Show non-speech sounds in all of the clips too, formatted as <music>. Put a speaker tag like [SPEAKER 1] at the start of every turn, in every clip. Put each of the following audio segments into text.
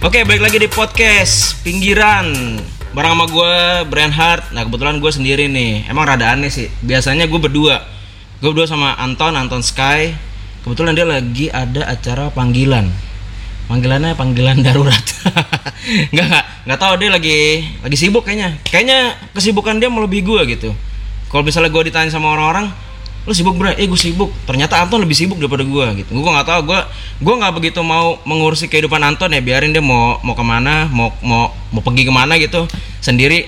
[SPEAKER 1] Oke, balik lagi di podcast pinggiran. Bareng sama gue, Brand Hart. Nah, kebetulan gue sendiri nih. Emang rada aneh sih. Biasanya gue berdua. Gue berdua sama Anton, Anton Sky. Kebetulan dia lagi ada acara panggilan. Panggilannya panggilan <laughs> darurat. Enggak, enggak. Enggak tahu dia lagi lagi sibuk kayaknya. Kayaknya kesibukan dia melebihi gue gitu. Kalau misalnya gue ditanya sama orang-orang, lu sibuk bro? Eh gue sibuk. Ternyata Anton lebih sibuk daripada gue gitu. Gue nggak tahu gue gue nggak begitu mau mengurusi kehidupan Anton ya. Biarin dia mau mau kemana, mau mau mau pergi kemana gitu sendiri.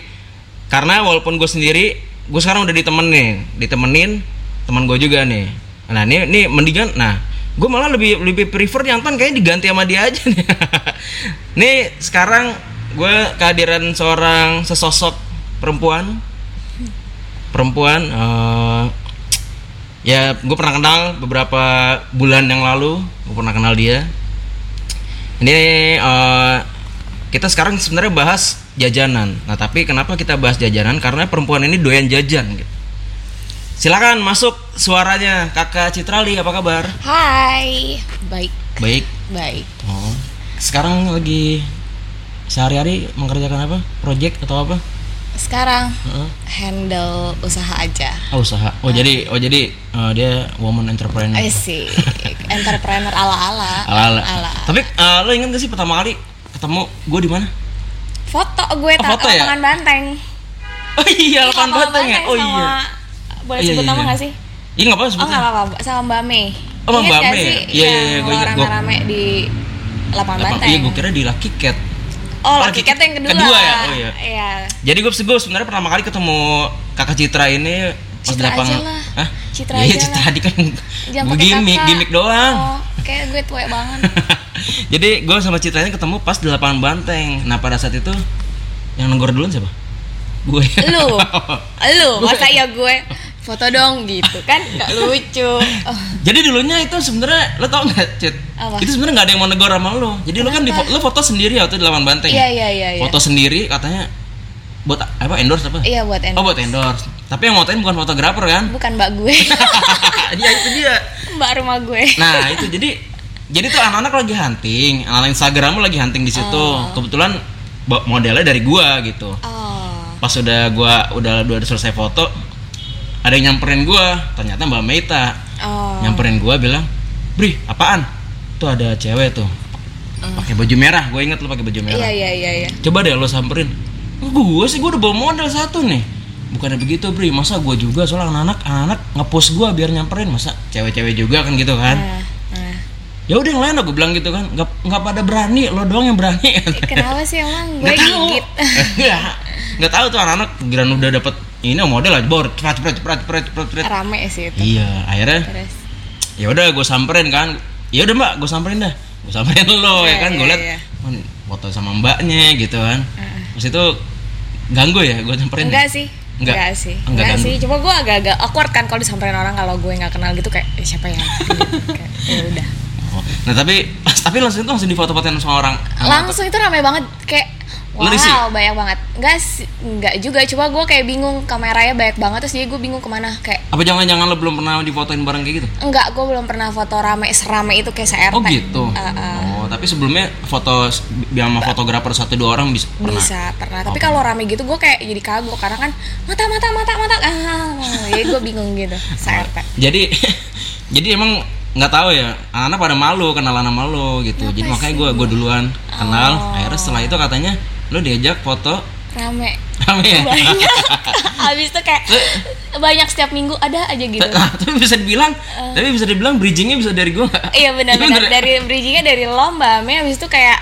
[SPEAKER 1] Karena walaupun gue sendiri, gue sekarang udah ditemenin, ditemenin teman gue juga nih. Nah ini ini mendingan. Nah gue malah lebih lebih prefer yang Anton kayaknya diganti sama dia aja nih. <laughs> nih sekarang gue kehadiran seorang sesosok perempuan perempuan eh, ya gue pernah kenal beberapa bulan yang lalu gue pernah kenal dia ini eh, kita sekarang sebenarnya bahas jajanan nah tapi kenapa kita bahas jajanan karena perempuan ini doyan jajan gitu silakan masuk suaranya kakak Citrali apa kabar
[SPEAKER 2] Hai, baik,
[SPEAKER 1] baik
[SPEAKER 2] baik.
[SPEAKER 1] oh sekarang lagi sehari-hari mengerjakan apa project atau apa
[SPEAKER 2] Sekarang
[SPEAKER 1] Heeh.
[SPEAKER 2] handle usaha aja.
[SPEAKER 1] Ah, usaha oh jadi oh jadi eh, dia woman entrepreneur
[SPEAKER 2] Eh sih, entrepreneur ala-ala.
[SPEAKER 1] ala ala
[SPEAKER 2] Ala-ala.
[SPEAKER 1] tapi eh, lo ingat gak sih pertama kali ketemu gue di mana <laughs>
[SPEAKER 2] Foto gue
[SPEAKER 1] Oh,
[SPEAKER 2] tak
[SPEAKER 1] foto ya?
[SPEAKER 2] lapangan banteng.
[SPEAKER 1] oh iya lapangan
[SPEAKER 2] Lapangan
[SPEAKER 1] banteng ya oh
[SPEAKER 2] sama-
[SPEAKER 1] iya
[SPEAKER 2] Boleh
[SPEAKER 1] Iya,
[SPEAKER 2] sebut
[SPEAKER 1] iya,
[SPEAKER 2] nama
[SPEAKER 1] iya.
[SPEAKER 2] nggak sih?
[SPEAKER 1] iya nggak apa-apa
[SPEAKER 2] Oh
[SPEAKER 1] sebutnya
[SPEAKER 2] nggak apa-apa, sama Mbak Mei.
[SPEAKER 1] Oh, sama
[SPEAKER 2] Ingat
[SPEAKER 1] Mbak
[SPEAKER 2] nggak
[SPEAKER 1] Mei
[SPEAKER 2] sih?
[SPEAKER 1] ya? Iya, iya, iya, gue
[SPEAKER 2] yang
[SPEAKER 1] ingat,
[SPEAKER 2] orang
[SPEAKER 1] gue-
[SPEAKER 2] rame di lapangan
[SPEAKER 1] Lapang-
[SPEAKER 2] banteng.
[SPEAKER 1] iya gue kira di Lucky Cat Oh,
[SPEAKER 2] Oh,
[SPEAKER 1] Lucky
[SPEAKER 2] laki
[SPEAKER 1] Cat
[SPEAKER 2] cat yang kedua.
[SPEAKER 1] kedua ya? Oh, iya.
[SPEAKER 2] Iya.
[SPEAKER 1] jadi gue gue sebenarnya pertama kali ketemu kakak Citra ini pas di
[SPEAKER 2] Citra aja
[SPEAKER 1] lapangan
[SPEAKER 2] lah.
[SPEAKER 1] Hah?
[SPEAKER 2] Citra
[SPEAKER 1] iya
[SPEAKER 2] aja
[SPEAKER 1] Citra
[SPEAKER 2] lah.
[SPEAKER 1] tadi kan
[SPEAKER 2] Jangan
[SPEAKER 1] gue
[SPEAKER 2] pakai
[SPEAKER 1] gimmick
[SPEAKER 2] kakak.
[SPEAKER 1] gimmick doang <laughs>
[SPEAKER 2] Oh, kayak gue tua banget.
[SPEAKER 1] Jadi gue sama Citranya ketemu pas di lapangan banteng. Nah pada saat itu yang nenggor duluan siapa? ya. Gue. <laughs>
[SPEAKER 2] lu lu masa ya gue foto dong gitu kan nggak lucu Oh,
[SPEAKER 1] Jadi dulunya itu sebenarnya lo tau nggak Cit?
[SPEAKER 2] Apa?
[SPEAKER 1] Itu sebenarnya nggak ada yang mau negor sama lo. Jadi lo kan di, fo- lo foto sendiri waktu di lapangan banteng.
[SPEAKER 2] iya iya iya iya
[SPEAKER 1] Foto sendiri katanya buat a- apa endorse apa?
[SPEAKER 2] iya buat
[SPEAKER 1] Oh
[SPEAKER 2] endorse
[SPEAKER 1] buat endorse. Tapi yang motoin bukan fotografer kan?
[SPEAKER 2] bukan mbak
[SPEAKER 1] <laughs>
[SPEAKER 2] gue
[SPEAKER 1] Iya itu dia.
[SPEAKER 2] mbak rumah gue
[SPEAKER 1] Nah itu jadi jadi tuh anak-anak lagi hunting, anak Instagram lagi hunting di situ. Kebetulan bo- modelnya dari gua gitu.
[SPEAKER 2] oh
[SPEAKER 1] pas udah gua udah udah selesai foto ada yang nyamperin gua ternyata mbak Meita
[SPEAKER 2] oh
[SPEAKER 1] nyamperin gua bilang Bri apaan tuh ada cewek tuh pakai baju merah gue inget lu pakai baju merah
[SPEAKER 2] Hmm. iya iya iya iya
[SPEAKER 1] coba deh lo samperin gue sih gua udah bawa modal satu nih bukannya begitu Bri masa gua juga soalnya anak-anak anak ngepost gua biar nyamperin masa cewek-cewek juga kan gitu kan
[SPEAKER 2] Nah, nah.
[SPEAKER 1] ya udah yang lain gue bilang gitu kan nggak nggak pada berani lo doang yang
[SPEAKER 2] <laughs>
[SPEAKER 1] berani
[SPEAKER 2] Eh, kenapa sih emang gue
[SPEAKER 1] nggak tahu
[SPEAKER 2] gigit
[SPEAKER 1] <laughs> nggak nggak tahu tuh anak-anak giliran udah dapet ini model aja bor cepet cepet cepet cepet cepet cepet
[SPEAKER 2] rame sih itu
[SPEAKER 1] iya akhirnya
[SPEAKER 2] terus
[SPEAKER 1] ya udah gue samperin kan ya udah mbak gue samperin dah gue samperin lo ya
[SPEAKER 2] Iya,
[SPEAKER 1] kan gue
[SPEAKER 2] iya,
[SPEAKER 1] liat
[SPEAKER 2] iya.
[SPEAKER 1] "Man, foto sama mbaknya gitu kan terus itu ganggu ya gue samperin
[SPEAKER 2] enggak
[SPEAKER 1] ya?
[SPEAKER 2] sih
[SPEAKER 1] Enggak.
[SPEAKER 2] enggak, sih
[SPEAKER 1] Enggak
[SPEAKER 2] enggak,
[SPEAKER 1] ganggu.
[SPEAKER 2] sih cuma gue agak-agak awkward kan kalau disamperin orang kalau gue nggak kenal gitu kayak "Eh, siapa ya Kayak, ya udah
[SPEAKER 1] Oh, nah tapi <laughs> tapi langsung itu langsung difoto-fotoin sama orang
[SPEAKER 2] langsung itu ramai banget kayak
[SPEAKER 1] Lu
[SPEAKER 2] wow
[SPEAKER 1] risih?
[SPEAKER 2] banyak banget nggak sih- nggak juga cuma gue kayak bingung kameranya banyak banget terus jadi gue bingung kemana kayak
[SPEAKER 1] apa jangan-jangan lo belum pernah difotoin bareng kayak gitu
[SPEAKER 2] enggak gue belum pernah foto rame serame itu kayak Eh, se-RT
[SPEAKER 1] oh gitu oh tapi sebelumnya foto bi- sama fotografer satu dua orang bisa pernah Oh.
[SPEAKER 2] bisa pernah tapi kalau rame gitu gue kayak jadi kagok karena kan mata mata mata mata ah jadi gue bingung gitu se-RT
[SPEAKER 1] jadi <laughs> jadi emang nggak tahu ya anak pada malu kenalan sama lo gitu jadi makanya gue gue duluan kenal akhirnya setelah itu katanya lo diajak foto <laughs>
[SPEAKER 2] rame <laughs>
[SPEAKER 1] rame ya
[SPEAKER 2] banyak habis itu kayak banyak setiap minggu ada aja gitu
[SPEAKER 1] Nah, <laughs> tapi bisa dibilang tapi bisa dibilang bridgingnya bisa dari gue nggak
[SPEAKER 2] Iya benar-benar dari bridgingnya dari lomba, Mei habis itu kayak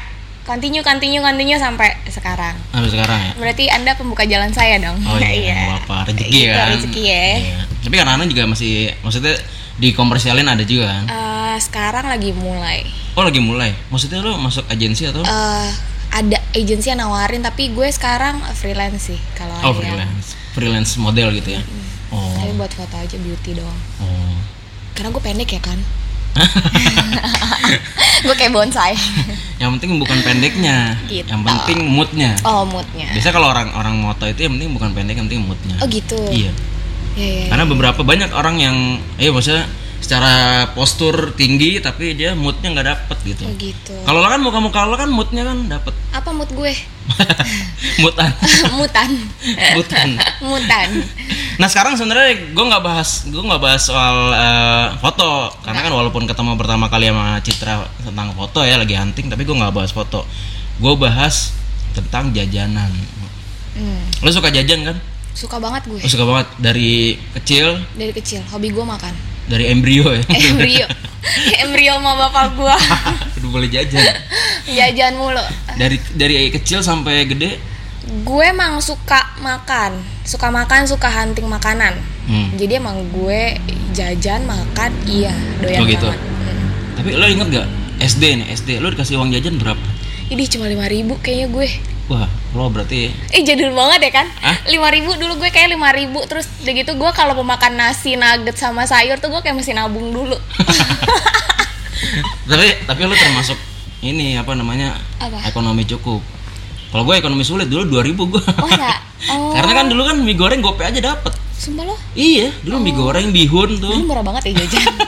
[SPEAKER 2] continue continue continue sampai sekarang.
[SPEAKER 1] sampai sekarang ya
[SPEAKER 2] Berarti anda pembuka jalan saya dong.
[SPEAKER 1] oh
[SPEAKER 2] <laughs>
[SPEAKER 1] iya apa rezeki
[SPEAKER 2] Gitu,
[SPEAKER 1] kan
[SPEAKER 2] rezeki ya.
[SPEAKER 1] Iya. tapi karena anak juga masih maksudnya di komersialin ada juga kan
[SPEAKER 2] Eh, sekarang lagi mulai.
[SPEAKER 1] oh lagi mulai maksudnya lo masuk agensi atau
[SPEAKER 2] Eh, ada agensi yang nawarin tapi gue sekarang freelance sih kalau
[SPEAKER 1] oh
[SPEAKER 2] ada yang-
[SPEAKER 1] freelance freelance model gitu ya oh
[SPEAKER 2] Tapi buat foto aja beauty doang.
[SPEAKER 1] oh
[SPEAKER 2] Karena gue pendek
[SPEAKER 1] <laughs>
[SPEAKER 2] ya kan. <laughs> gue kayak bonsai.
[SPEAKER 1] yang penting bukan pendeknya
[SPEAKER 2] Gitu.
[SPEAKER 1] yang penting moodnya
[SPEAKER 2] Oh moodnya.
[SPEAKER 1] biasanya kalau orang orang moto itu yang penting bukan pendek yang penting moodnya
[SPEAKER 2] Oh gitu.
[SPEAKER 1] iya
[SPEAKER 2] Oh, Iya, iya.
[SPEAKER 1] karena beberapa banyak orang yang iya maksudnya secara postur tinggi tapi dia moodnya nggak dapet gitu
[SPEAKER 2] Oh gitu.
[SPEAKER 1] kalau lo kan muka-muka lo kan moodnya kan dapet <laughs>
[SPEAKER 2] Apa mood gue? <laughs>
[SPEAKER 1] mutan <laughs>
[SPEAKER 2] Mutan.
[SPEAKER 1] mutan
[SPEAKER 2] Mutan.
[SPEAKER 1] nah sekarang sebenarnya gue nggak bahas gue nggak bahas soal eh, foto karena kan walaupun ketemu pertama kali sama Citra tentang foto ya lagi hunting tapi gue nggak bahas foto gue bahas tentang jajanan
[SPEAKER 2] Hmm,
[SPEAKER 1] lo suka jajan kan
[SPEAKER 2] suka banget gue.
[SPEAKER 1] lo suka banget dari kecil
[SPEAKER 2] Dari kecil hobi gue makan.
[SPEAKER 1] dari embrio <laughs> ya
[SPEAKER 2] Embrio. Embrio sama bapak gue.
[SPEAKER 1] udah boleh jajan
[SPEAKER 2] Jajan mulu.
[SPEAKER 1] dari dari kecil sampai gede
[SPEAKER 2] Gue emang suka makan, suka makan, suka hunting makanan.
[SPEAKER 1] Hmm.
[SPEAKER 2] Jadi emang gue jajan makan iya doyan
[SPEAKER 1] Oh gitu.
[SPEAKER 2] banget. Hmm.
[SPEAKER 1] tapi lo inget gak SD nih SD lo dikasih uang jajan berapa
[SPEAKER 2] Ini cuma lima ribu kayaknya gue.
[SPEAKER 1] wah lo berarti
[SPEAKER 2] Eh jadul banget ya kan?
[SPEAKER 1] Hah?
[SPEAKER 2] Lima ribu dulu gue kayak lima ribu terus udah gitu gue kalau mau makan nasi nugget sama sayur tuh gue kayak mesti nabung
[SPEAKER 1] <laughs>
[SPEAKER 2] dulu.
[SPEAKER 1] tapi tapi lo termasuk ini apa namanya
[SPEAKER 2] Apa?
[SPEAKER 1] ekonomi cukup kalau gue ekonomi sulit dulu 2000 gue
[SPEAKER 2] Oh ya. Oh.
[SPEAKER 1] karena kan dulu kan mie goreng gope aja dapet
[SPEAKER 2] Sumpah lo,
[SPEAKER 1] iya dulu
[SPEAKER 2] Oh.
[SPEAKER 1] mie goreng bihun tuh
[SPEAKER 2] dulu murah banget ya
[SPEAKER 1] <laughs>
[SPEAKER 2] jajan.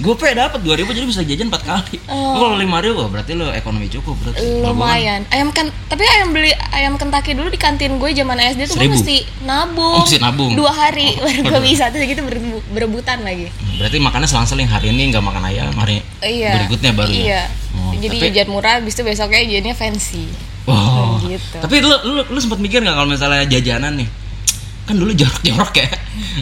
[SPEAKER 1] gope dapet 2000 jadi bisa jajan 4 kali
[SPEAKER 2] Oh.
[SPEAKER 1] kalau 5000 wah, berarti lo ekonomi cukup berarti Kalau gua kan-
[SPEAKER 2] Lumayan. Ayam kan, tapi ayam beli ayam Kentucky dulu di kantin gue zaman SD tuh gue
[SPEAKER 1] Seribu.
[SPEAKER 2] mesti nabung.
[SPEAKER 1] Oh, mesti nabung. Oh,
[SPEAKER 2] Dua hari baru gue bisa terus gitu berbu- berebutan lagi.
[SPEAKER 1] berarti makannya selang-seling hari ini nggak makan ayam hari
[SPEAKER 2] Iya.
[SPEAKER 1] berikutnya baru ya?
[SPEAKER 2] Iya.
[SPEAKER 1] Oh,
[SPEAKER 2] Jadi
[SPEAKER 1] tapi-
[SPEAKER 2] jajan murah, habis itu besoknya jadinya fancy.
[SPEAKER 1] Wow.
[SPEAKER 2] <laughs> Gitu.
[SPEAKER 1] Tapi lu lu, lu sempat mikir nggak kalau misalnya jajanan nih? Kan dulu jorok-jorok ya.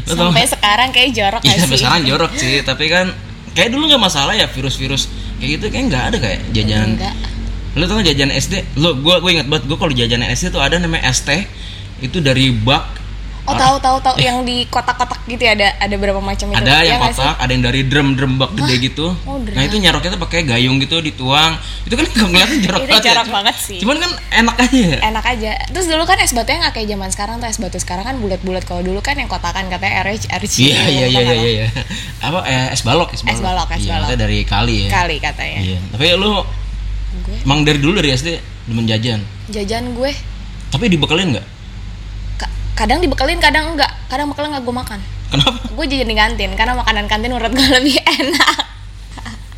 [SPEAKER 1] Lu tau
[SPEAKER 2] Sampai sekarang kayak jorok
[SPEAKER 1] Iya,
[SPEAKER 2] gak
[SPEAKER 1] sampai
[SPEAKER 2] sih? Oh,
[SPEAKER 1] sekarang jorok sih, tapi kan kayak dulu nggak masalah ya virus-virus kayak gitu kayak nggak ada kayak jajanan.
[SPEAKER 2] Enggak.
[SPEAKER 1] Lu tau nggak jajanan SD? Lu gua gua ingat banget gua kalau jajanan SD tuh ada namanya es teh itu dari bak
[SPEAKER 2] Oh tahu tahu tahu yang di kotak-kotak gitu ya, ada ada berapa macam itu.
[SPEAKER 1] Iya. ada yang
[SPEAKER 2] Iya nggak sih?
[SPEAKER 1] kotak, ada yang dari drum-drum bak gede gitu.
[SPEAKER 2] Oh, drum.
[SPEAKER 1] Nah, itu nyaroknya tuh pakai gayung gitu dituang. Itu kan nggak ngeliatnya jorok
[SPEAKER 2] Itu
[SPEAKER 1] banget. ya.
[SPEAKER 2] jorok banget sih.
[SPEAKER 1] Cuman kan enak aja ya.
[SPEAKER 2] enak aja terus dulu kan es batunya nggak kayak zaman sekarang tuh es batu sekarang kan bulat-bulat kalau dulu kan yang kotakan katanya RH RC
[SPEAKER 1] Iya iya iya
[SPEAKER 2] bukan
[SPEAKER 1] iya
[SPEAKER 2] apa?
[SPEAKER 1] iya. Apa eh, es balok es balok.
[SPEAKER 2] balok, es
[SPEAKER 1] Iya,
[SPEAKER 2] balok.
[SPEAKER 1] katanya dari kali ya.
[SPEAKER 2] kali katanya
[SPEAKER 1] Iya. Tapi lu
[SPEAKER 2] gue
[SPEAKER 1] emang dari dulu dari SD demen jajan.
[SPEAKER 2] jajan gue
[SPEAKER 1] Tapi dibekelin nggak?
[SPEAKER 2] ka- kadang dibekelin kadang enggak kadang bekelin nggak gue makan
[SPEAKER 1] Kenapa?
[SPEAKER 2] gue jajan di kantin karena makanan kantin menurut gue <laughs> lebih enak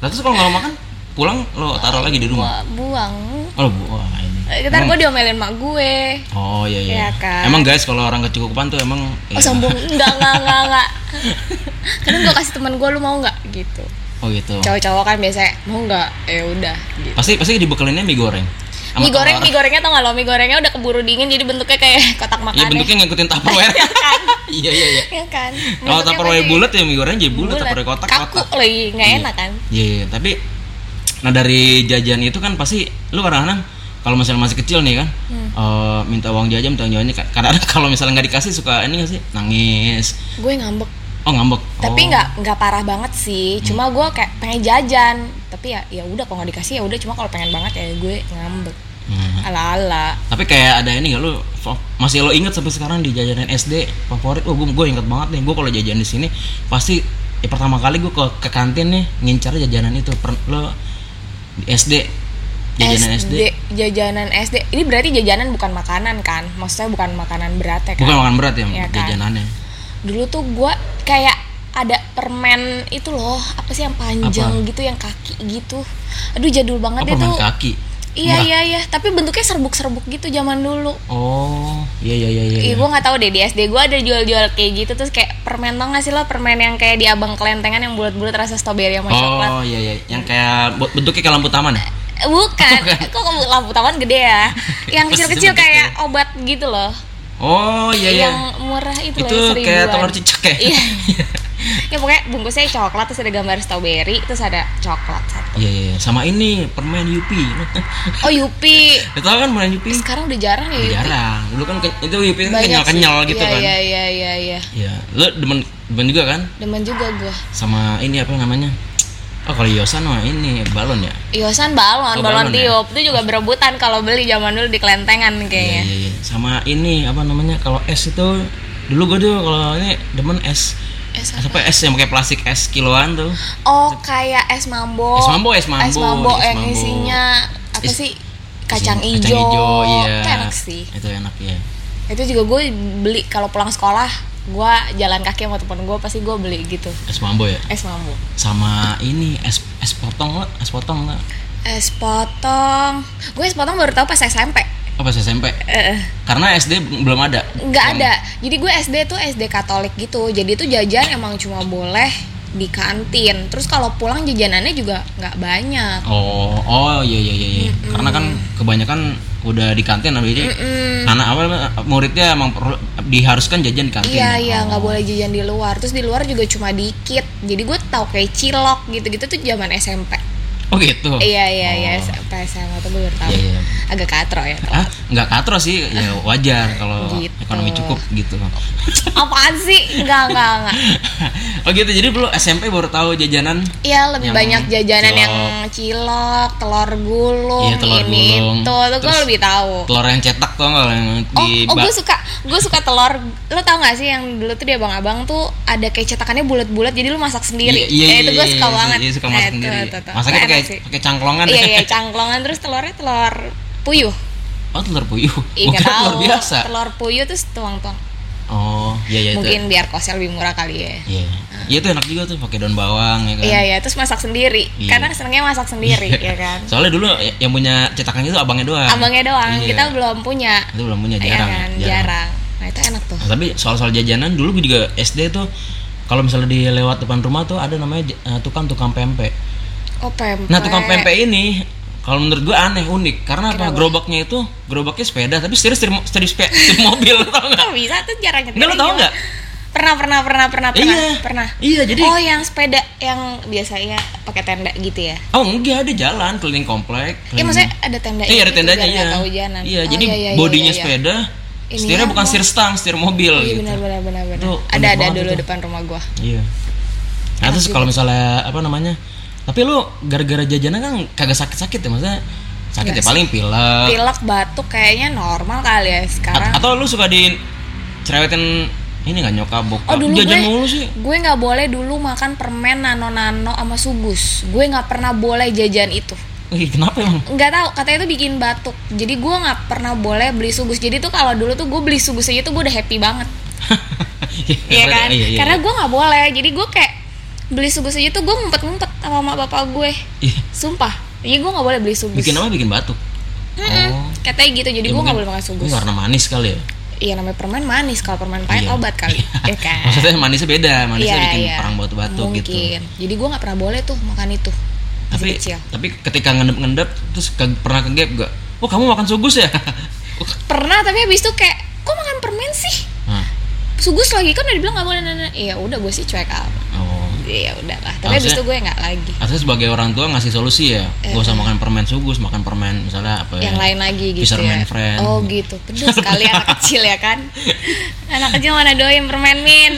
[SPEAKER 1] Lah terus kalau nggak lo makan pulang lo taruh lagi di rumah.
[SPEAKER 2] Wah, buang
[SPEAKER 1] Oh, bu, wah ini.
[SPEAKER 2] Eh, ntar
[SPEAKER 1] Hmm.
[SPEAKER 2] gue diomelin mak gue
[SPEAKER 1] Oh iya iya.
[SPEAKER 2] Iya, kan?
[SPEAKER 1] Emang guys kalau orang kecukupan tuh emang
[SPEAKER 2] oh
[SPEAKER 1] iya.
[SPEAKER 2] sombong enggak enggak enggak
[SPEAKER 1] <laughs>
[SPEAKER 2] enggak kadang gue kasih teman gue lu mau nggak gitu
[SPEAKER 1] Oh gitu.
[SPEAKER 2] cowok-cowok kan biasanya mau nggak ya udah gitu
[SPEAKER 1] Pasti pasti dibekelinnya mie goreng. Sama
[SPEAKER 2] mie goreng
[SPEAKER 1] telur.
[SPEAKER 2] mie gorengnya tau gak lo mie gorengnya udah keburu dingin jadi bentuknya kayak <laughs> kotak
[SPEAKER 1] Iya
[SPEAKER 2] makanan
[SPEAKER 1] bentuknya ngikutin tupperware.
[SPEAKER 2] kan
[SPEAKER 1] <laughs> Iya iya iya.
[SPEAKER 2] ya kan
[SPEAKER 1] Kalau tupperware bulat ya mie goreng jadi bulat, tupperware kotak
[SPEAKER 2] kaku
[SPEAKER 1] kotak.
[SPEAKER 2] lagi nggak
[SPEAKER 1] Iya.
[SPEAKER 2] enak kan
[SPEAKER 1] Iya, iya, tapi nah dari jajan itu kan pasti lu kadang-kadang kalau misalnya masih kecil nih kan
[SPEAKER 2] Hmm.
[SPEAKER 1] eh, minta uang jajan minta uang jajannya ka- kadang-kadang <laughs> kalau misalnya nggak dikasih suka ini nggak sih nangis
[SPEAKER 2] gue ngambek
[SPEAKER 1] oh ngambek Oh. Hmm.
[SPEAKER 2] tapi nggak nggak parah banget sih cuma gue kayak pengen jajan tapi ya ya udah kalau nggak dikasih ya udah cuma kalau pengen banget ya gue ngambek
[SPEAKER 1] Hmm.
[SPEAKER 2] ala ala
[SPEAKER 1] tapi kayak ada ini nggak lu fa- masih lo inget sampai sekarang di jajanan SD favorit oh gue gue inget banget nih gue kalau jajan di sini pasti ya pertama kali gue ke, ke kantin nih ngincar jajanan itu per, lo di SD jajanan SD,
[SPEAKER 2] jajanan SD ini berarti jajanan bukan makanan kan maksudnya bukan makanan berat ya kan
[SPEAKER 1] bukan makan berat ya,
[SPEAKER 2] Iya, kan?
[SPEAKER 1] jajanannya
[SPEAKER 2] dulu tuh gue kayak ada permen itu loh apa sih yang panjang
[SPEAKER 1] Apa?
[SPEAKER 2] gitu yang kaki gitu aduh jadul banget
[SPEAKER 1] apa
[SPEAKER 2] itu
[SPEAKER 1] main kaki Murah.
[SPEAKER 2] iya iya iya tapi bentuknya serbuk-serbuk gitu zaman dulu
[SPEAKER 1] Oh, iya iya iya iya.
[SPEAKER 2] Ih, gue nggak tahu deh di SD gue ada jual-jual kayak gitu terus kayak permen tau nggak sih lo permen yang kayak di abang kelentengan yang bulat-bulat rasa strawberry sama coklat
[SPEAKER 1] Oh, iya iya. Yang kayak bu- bentuknya kayak lampu taman. ya?
[SPEAKER 2] Eh, bukan <laughs> kok kamu lampu taman gede ya
[SPEAKER 1] <laughs>
[SPEAKER 2] yang
[SPEAKER 1] Pasti
[SPEAKER 2] kecil-kecil
[SPEAKER 1] bentuknya.
[SPEAKER 2] kayak obat gitu loh
[SPEAKER 1] Oh, iya iya.
[SPEAKER 2] yang murah
[SPEAKER 1] Itu
[SPEAKER 2] itu, loh yang
[SPEAKER 1] kayak
[SPEAKER 2] seribuan.
[SPEAKER 1] telur cicak ya?
[SPEAKER 2] iya ya pokoknya bungkusnya coklat terus ada gambar strawberry terus ada coklat satu
[SPEAKER 1] <laughs> Iya iya, iya. sama ini permen Yupi. <laughs>
[SPEAKER 2] oh yupi
[SPEAKER 1] Lo tau kan permen Yupi?
[SPEAKER 2] sekarang udah jarang ya yupi
[SPEAKER 1] Jarang. Dulu kan ke- itu Yupi kan
[SPEAKER 2] Banyak sih.
[SPEAKER 1] kenyal-kenyal gitu
[SPEAKER 2] Iya,
[SPEAKER 1] kan.
[SPEAKER 2] iya iya iya iya
[SPEAKER 1] Iya. Lo demen demen juga kan
[SPEAKER 2] demen juga gue
[SPEAKER 1] sama ini apa namanya? Oh, kalau Yosan mah ini balon ya.
[SPEAKER 2] Iosan balon,
[SPEAKER 1] Oh,
[SPEAKER 2] balon
[SPEAKER 1] balon ya?
[SPEAKER 2] tiup itu juga berebutan kalau beli zaman dulu di kelentengan
[SPEAKER 1] Iya,
[SPEAKER 2] kayaknya.
[SPEAKER 1] iya, iya. Sama ini apa namanya? Kalau es itu dulu gue tuh kalau ini demen es
[SPEAKER 2] Es
[SPEAKER 1] es apa es yang pakai plastik es kiloan tuh.
[SPEAKER 2] Oh, kayak es mambo.
[SPEAKER 1] Es mambo, es mambo, es
[SPEAKER 2] yang
[SPEAKER 1] mambo.
[SPEAKER 2] isinya apa
[SPEAKER 1] Is-
[SPEAKER 2] sih? Kacang
[SPEAKER 1] Isinya-
[SPEAKER 2] hijau.
[SPEAKER 1] kacang hijau, iya.
[SPEAKER 2] Itu enak sih.
[SPEAKER 1] Itu enak ya.
[SPEAKER 2] Itu juga gue beli kalau pulang sekolah gue jalan kaki sama temen gue pasti gue beli gitu
[SPEAKER 1] es mambo ya
[SPEAKER 2] es mambo
[SPEAKER 1] sama ini es es potong lah es potong lah
[SPEAKER 2] es potong gue es potong baru tahu pas SMP
[SPEAKER 1] apa sih SMP
[SPEAKER 2] Eh, eh.
[SPEAKER 1] karena SD belum ada
[SPEAKER 2] nggak ada jadi gue SD tuh SD Katolik gitu jadi tuh jajan emang cuma boleh di kantin terus kalau pulang jajanannya juga nggak banyak
[SPEAKER 1] oh oh iya iya iya iya. karena kan kebanyakan udah di kantin jadi anak apa muridnya emang perlu- diharuskan jajan di kantin
[SPEAKER 2] Iya iya nggak boleh jajan di luar. Terus di luar juga cuma dikit. Jadi gue tau kayak cilok gitu-gitu tuh zaman SMP.
[SPEAKER 1] oh gitu
[SPEAKER 2] Iya iya iya SMP SMA tuh gue baru tahu.
[SPEAKER 1] Iya, iya.
[SPEAKER 2] Agak katro ya.
[SPEAKER 1] ah nggak katro sih ya wajar kalau
[SPEAKER 2] Ah, Gitu.
[SPEAKER 1] ekonomi cukup gitu <laughs>
[SPEAKER 2] Apaan sih? Enggak enggak enggak.
[SPEAKER 1] oh gitu jadi lu SMP baru tahu jajanan
[SPEAKER 2] Iya lebih
[SPEAKER 1] Yang
[SPEAKER 2] banyak jajanan
[SPEAKER 1] cilok.
[SPEAKER 2] yang cilok, telur gulung,
[SPEAKER 1] Iya, telur
[SPEAKER 2] ini
[SPEAKER 1] gulung.
[SPEAKER 2] itu tuh gue
[SPEAKER 1] Terus
[SPEAKER 2] lebih tahu.
[SPEAKER 1] telur yang cetak tuh nggak yang
[SPEAKER 2] Oh,
[SPEAKER 1] di
[SPEAKER 2] oh
[SPEAKER 1] bak-
[SPEAKER 2] gue suka, gue suka telur. Lo tau gak sih yang dulu tuh di abang-abang tuh ada kayak cetakannya bulat-bulat, jadi lo masak
[SPEAKER 1] Iya,
[SPEAKER 2] sendiri.
[SPEAKER 1] iya,
[SPEAKER 2] Eh, itu gue
[SPEAKER 1] iya,
[SPEAKER 2] suka
[SPEAKER 1] iya,
[SPEAKER 2] banget.
[SPEAKER 1] Iya, suka
[SPEAKER 2] Nah,
[SPEAKER 1] masak
[SPEAKER 2] itu,
[SPEAKER 1] sendiri.
[SPEAKER 2] itu, itu.
[SPEAKER 1] Masaknya
[SPEAKER 2] Enak
[SPEAKER 1] pakai
[SPEAKER 2] sih.
[SPEAKER 1] pakai cangklongan. ya?
[SPEAKER 2] iya iya cangklongan terus telurnya telur puyuh
[SPEAKER 1] Oh, telur puyuh.
[SPEAKER 2] Ih,
[SPEAKER 1] Bukan
[SPEAKER 2] nggak tahu.
[SPEAKER 1] <laughs> telur biasa.
[SPEAKER 2] telur puyuh terus tuang-tuang
[SPEAKER 1] Oh, iya iya itu.
[SPEAKER 2] mungkin biar kosnya lebih murah kali ya
[SPEAKER 1] Iya. Iya itu enak juga tuh pakai daun bawang ya kan.
[SPEAKER 2] iya iya terus masak sendiri
[SPEAKER 1] Iya.
[SPEAKER 2] karena senengnya masak sendiri ya kan
[SPEAKER 1] Soalnya dulu y- yang punya cetakan itu abangnya doang.
[SPEAKER 2] abangnya doang
[SPEAKER 1] Iya.
[SPEAKER 2] kita belum punya
[SPEAKER 1] itu belum punya
[SPEAKER 2] ya
[SPEAKER 1] jarang.
[SPEAKER 2] kan jarang. nah itu enak tuh
[SPEAKER 1] Nah, tapi soal-soal jajanan dulu gue juga SD tuh kalau misalnya di lewat depan rumah tuh ada namanya j- eh, tukang-tukang pempek.
[SPEAKER 2] oh pempek
[SPEAKER 1] Nah, tukang pempek ini kalau menurut gue aneh unik karena apa gerobaknya itu gerobaknya sepeda tapi setir setir, mo- setir, spe- setir mobil <laughs> tau nggak?
[SPEAKER 2] Kok bisa tuh jarang nyetir
[SPEAKER 1] Enggak lo tau
[SPEAKER 2] Gimana?
[SPEAKER 1] nggak?
[SPEAKER 2] pernah pernah pernah pernah pernah
[SPEAKER 1] Iya.
[SPEAKER 2] pernah
[SPEAKER 1] Iya jadi
[SPEAKER 2] oh yang sepeda yang biasanya pakai tenda gitu ya
[SPEAKER 1] Oh enggak ada jalan keliling komplek.
[SPEAKER 2] Iya
[SPEAKER 1] keliling-
[SPEAKER 2] maksudnya ada tenda
[SPEAKER 1] Hmm.
[SPEAKER 2] gitu
[SPEAKER 1] Iya ada tendanya iya.
[SPEAKER 2] jalan. Oh,
[SPEAKER 1] Iya jadi bodinya sepeda,
[SPEAKER 2] Ini
[SPEAKER 1] setirnya bukan
[SPEAKER 2] apa?
[SPEAKER 1] setir stang, setir mobil
[SPEAKER 2] Iya
[SPEAKER 1] gitu.
[SPEAKER 2] benar benar benar benar.
[SPEAKER 1] Itu
[SPEAKER 2] Ada
[SPEAKER 1] unik
[SPEAKER 2] ada
[SPEAKER 1] banget
[SPEAKER 2] dulu
[SPEAKER 1] itu.
[SPEAKER 2] depan rumah gua.
[SPEAKER 1] Iya. Nah terus kalau misalnya apa namanya? Tapi lu gara-gara jajanan kan kagak sakit-sakit ya maksudnya sakit ya paling pilek.
[SPEAKER 2] Pilek batuk kayaknya normal kali ya
[SPEAKER 1] A-
[SPEAKER 2] Iya, sekarang.
[SPEAKER 1] atau lu suka di cerewetin ini nggak nyokap bokap
[SPEAKER 2] Oh, dulu
[SPEAKER 1] jajan
[SPEAKER 2] gue-
[SPEAKER 1] mulu sih.
[SPEAKER 2] Gue nggak boleh dulu makan permen nano-nano sama sugus. Gue nggak pernah boleh jajan itu.
[SPEAKER 1] Ih, kenapa emang?
[SPEAKER 2] Nggak tahu katanya itu bikin batuk. Jadi gue nggak pernah boleh beli sugus. Jadi tuh kalau dulu tuh gue beli sugus aja tuh gue udah happy banget. <laughs> Iya kan?
[SPEAKER 1] Iya, iya,
[SPEAKER 2] Karena
[SPEAKER 1] iya.
[SPEAKER 2] gue nggak boleh. Jadi gue kayak beli sugus aja tuh gue ngumpet-ngumpet sama emak bapak gue.
[SPEAKER 1] Ih,
[SPEAKER 2] Sumpah. Jadi gue nggak boleh beli sugus.
[SPEAKER 1] Iya. bikin apa bikin batuk.
[SPEAKER 2] Mm-mm. Katanya gitu.
[SPEAKER 1] Ya,
[SPEAKER 2] Jadi gue nggak
[SPEAKER 1] mungkin-
[SPEAKER 2] boleh makan sugus.
[SPEAKER 1] mungkin Karena manis kali ya.
[SPEAKER 2] Iya namanya permen manis. Kalau permen pahit
[SPEAKER 1] Iya.
[SPEAKER 2] obat
[SPEAKER 1] <laughs>
[SPEAKER 2] kali. ya kan?
[SPEAKER 1] Maksudnya manisnya beda, manisnya
[SPEAKER 2] Iya,
[SPEAKER 1] bikin
[SPEAKER 2] iya.
[SPEAKER 1] perang batu-batu
[SPEAKER 2] Mungkin.
[SPEAKER 1] gitu.
[SPEAKER 2] Jadi gue nggak pernah boleh tuh makan itu. Masih
[SPEAKER 1] Tapi
[SPEAKER 2] kecil.
[SPEAKER 1] tapi ketika ngendep-ngendep terus ke- pernah ke gap gak? Oh kamu makan sugus ya? <laughs>
[SPEAKER 2] Pernah tapi habis itu kayak kok makan permen sih?
[SPEAKER 1] nah,
[SPEAKER 2] Sugus lagi kan udah dibilang nggak boleh nana. Iya udah gue sih cuek apa.
[SPEAKER 1] oh.
[SPEAKER 2] Iya udahlah. Tapi habis
[SPEAKER 1] Harusnya-
[SPEAKER 2] itu gue nggak lagi.
[SPEAKER 1] Artinya sebagai orang tua ngasih solusi ya, gak usah makan permen sugus, makan permen misalnya apa ya?
[SPEAKER 2] Eh. Yang lain lagi gitu
[SPEAKER 1] Fisherman
[SPEAKER 2] ya.
[SPEAKER 1] friend.
[SPEAKER 2] Oh gitu. Pedes sekali anak kecil ya
[SPEAKER 1] <laughs>
[SPEAKER 2] kan. anak kecil mana doyan permen min.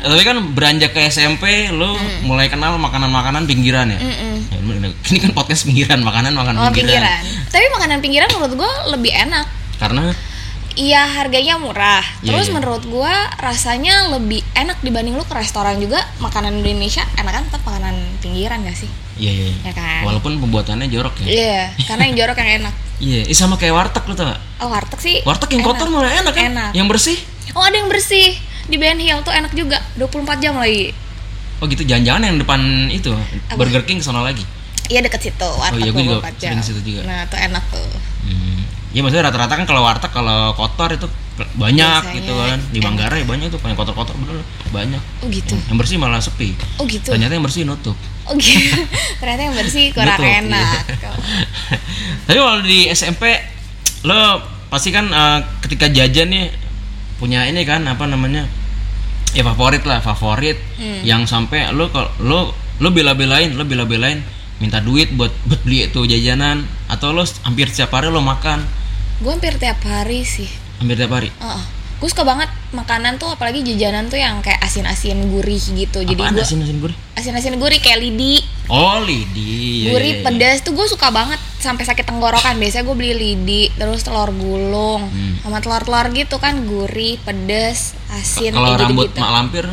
[SPEAKER 1] Eh, Tapi kan beranjak ke SMP, lu
[SPEAKER 2] Hmm.
[SPEAKER 1] mulai kenal makanan-makanan pinggiran ya.
[SPEAKER 2] Mm-mm.
[SPEAKER 1] Ya, <laughs> ini- Ini kan podcast pinggiran, makanan makanan
[SPEAKER 2] Hmm. Oh
[SPEAKER 1] pinggiran.
[SPEAKER 2] pinggiran. Tapi makanan pinggiran menurut gue lebih enak.
[SPEAKER 1] Karena
[SPEAKER 2] Iya harganya murah.
[SPEAKER 1] Iya,
[SPEAKER 2] Terus
[SPEAKER 1] iya.
[SPEAKER 2] menurut gua rasanya lebih enak dibanding lu ke restoran juga makanan Indonesia enak kan tetap makanan pinggiran gak sih?
[SPEAKER 1] iya iya.
[SPEAKER 2] Ya kan?
[SPEAKER 1] Walaupun pembuatannya jorok ya.
[SPEAKER 2] Iya, karena yang jorok yang enak.
[SPEAKER 1] Iya, Ih, sama kayak warteg lu tau gak?
[SPEAKER 2] Oh, warteg sih.
[SPEAKER 1] Warteg yang
[SPEAKER 2] enak.
[SPEAKER 1] kotor malah enak kan?
[SPEAKER 2] Enak.
[SPEAKER 1] Yang bersih?
[SPEAKER 2] Oh, ada yang bersih di Ben Hill tuh enak juga. 24 jam lagi.
[SPEAKER 1] Oh gitu, jangan-jangan yang depan itu Burger King kesana lagi.
[SPEAKER 2] Iya deket situ, warteg
[SPEAKER 1] iya, gua juga
[SPEAKER 2] 24 jam.
[SPEAKER 1] sering situ juga.
[SPEAKER 2] Nah, tuh enak tuh.
[SPEAKER 1] Hmm. Ya maksudnya rata-rata kan kalau warteg kalau kotor itu banyak
[SPEAKER 2] Biasanya.
[SPEAKER 1] gitu kan. Di Manggarai banyak tuh yang kotor-kotor bener banyak.
[SPEAKER 2] Oh gitu.
[SPEAKER 1] Yang bersih malah sepi.
[SPEAKER 2] Oh gitu.
[SPEAKER 1] Ternyata yang bersih nutup. <laughs>
[SPEAKER 2] Oh gitu. <laughs> Ternyata yang bersih kurang
[SPEAKER 1] Nutup, iya.
[SPEAKER 2] enak.
[SPEAKER 1] Tapi kalau di SMP lo pasti kan eh, ketika jajan nih punya ini kan apa namanya? Ya favorit lah, favorit
[SPEAKER 2] Hmm.
[SPEAKER 1] yang sampai lo kalau lo lo bela-belain, lo bela-belain minta duit buat buat beli itu jajanan atau lo hampir setiap hari lo makan
[SPEAKER 2] Gue hampir tiap hari sih.
[SPEAKER 1] hampir tiap hari
[SPEAKER 2] Heeh. Gue suka banget makanan tuh apalagi jajanan tuh yang kayak asin-asin gurih gitu. Jadi
[SPEAKER 1] Apaan
[SPEAKER 2] gue
[SPEAKER 1] asin asin gurih?
[SPEAKER 2] asin-asin gurih kayak lidi,
[SPEAKER 1] Oh lidi. Iya,
[SPEAKER 2] gurih
[SPEAKER 1] iya, iya.
[SPEAKER 2] pedas tuh gue suka banget sampai sakit tenggorokan. Biasanya gue beli lidi, terus telur gulung,
[SPEAKER 1] Hmm.
[SPEAKER 2] sama telur-telur gitu kan gurih, pedas, asin
[SPEAKER 1] Kalau
[SPEAKER 2] kayak
[SPEAKER 1] rambut
[SPEAKER 2] gitu-gitu.
[SPEAKER 1] mak lampir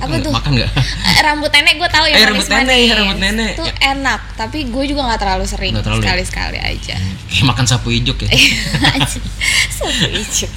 [SPEAKER 2] Apa tuh?
[SPEAKER 1] Makan nggak? <laughs>
[SPEAKER 2] Eh, rambut nenek gue tahu ya
[SPEAKER 1] Eh, rambut
[SPEAKER 2] manis-manis.
[SPEAKER 1] nenek, rambut nenek. Ya.
[SPEAKER 2] Itu enak, tapi gue juga nggak terlalu sering,
[SPEAKER 1] Nggak terlalu. ya?
[SPEAKER 2] sekali-sekali
[SPEAKER 1] <laughs>
[SPEAKER 2] aja. <laughs>
[SPEAKER 1] Eh, makan sapu ijuk ya. Eh,
[SPEAKER 2] Satu icip.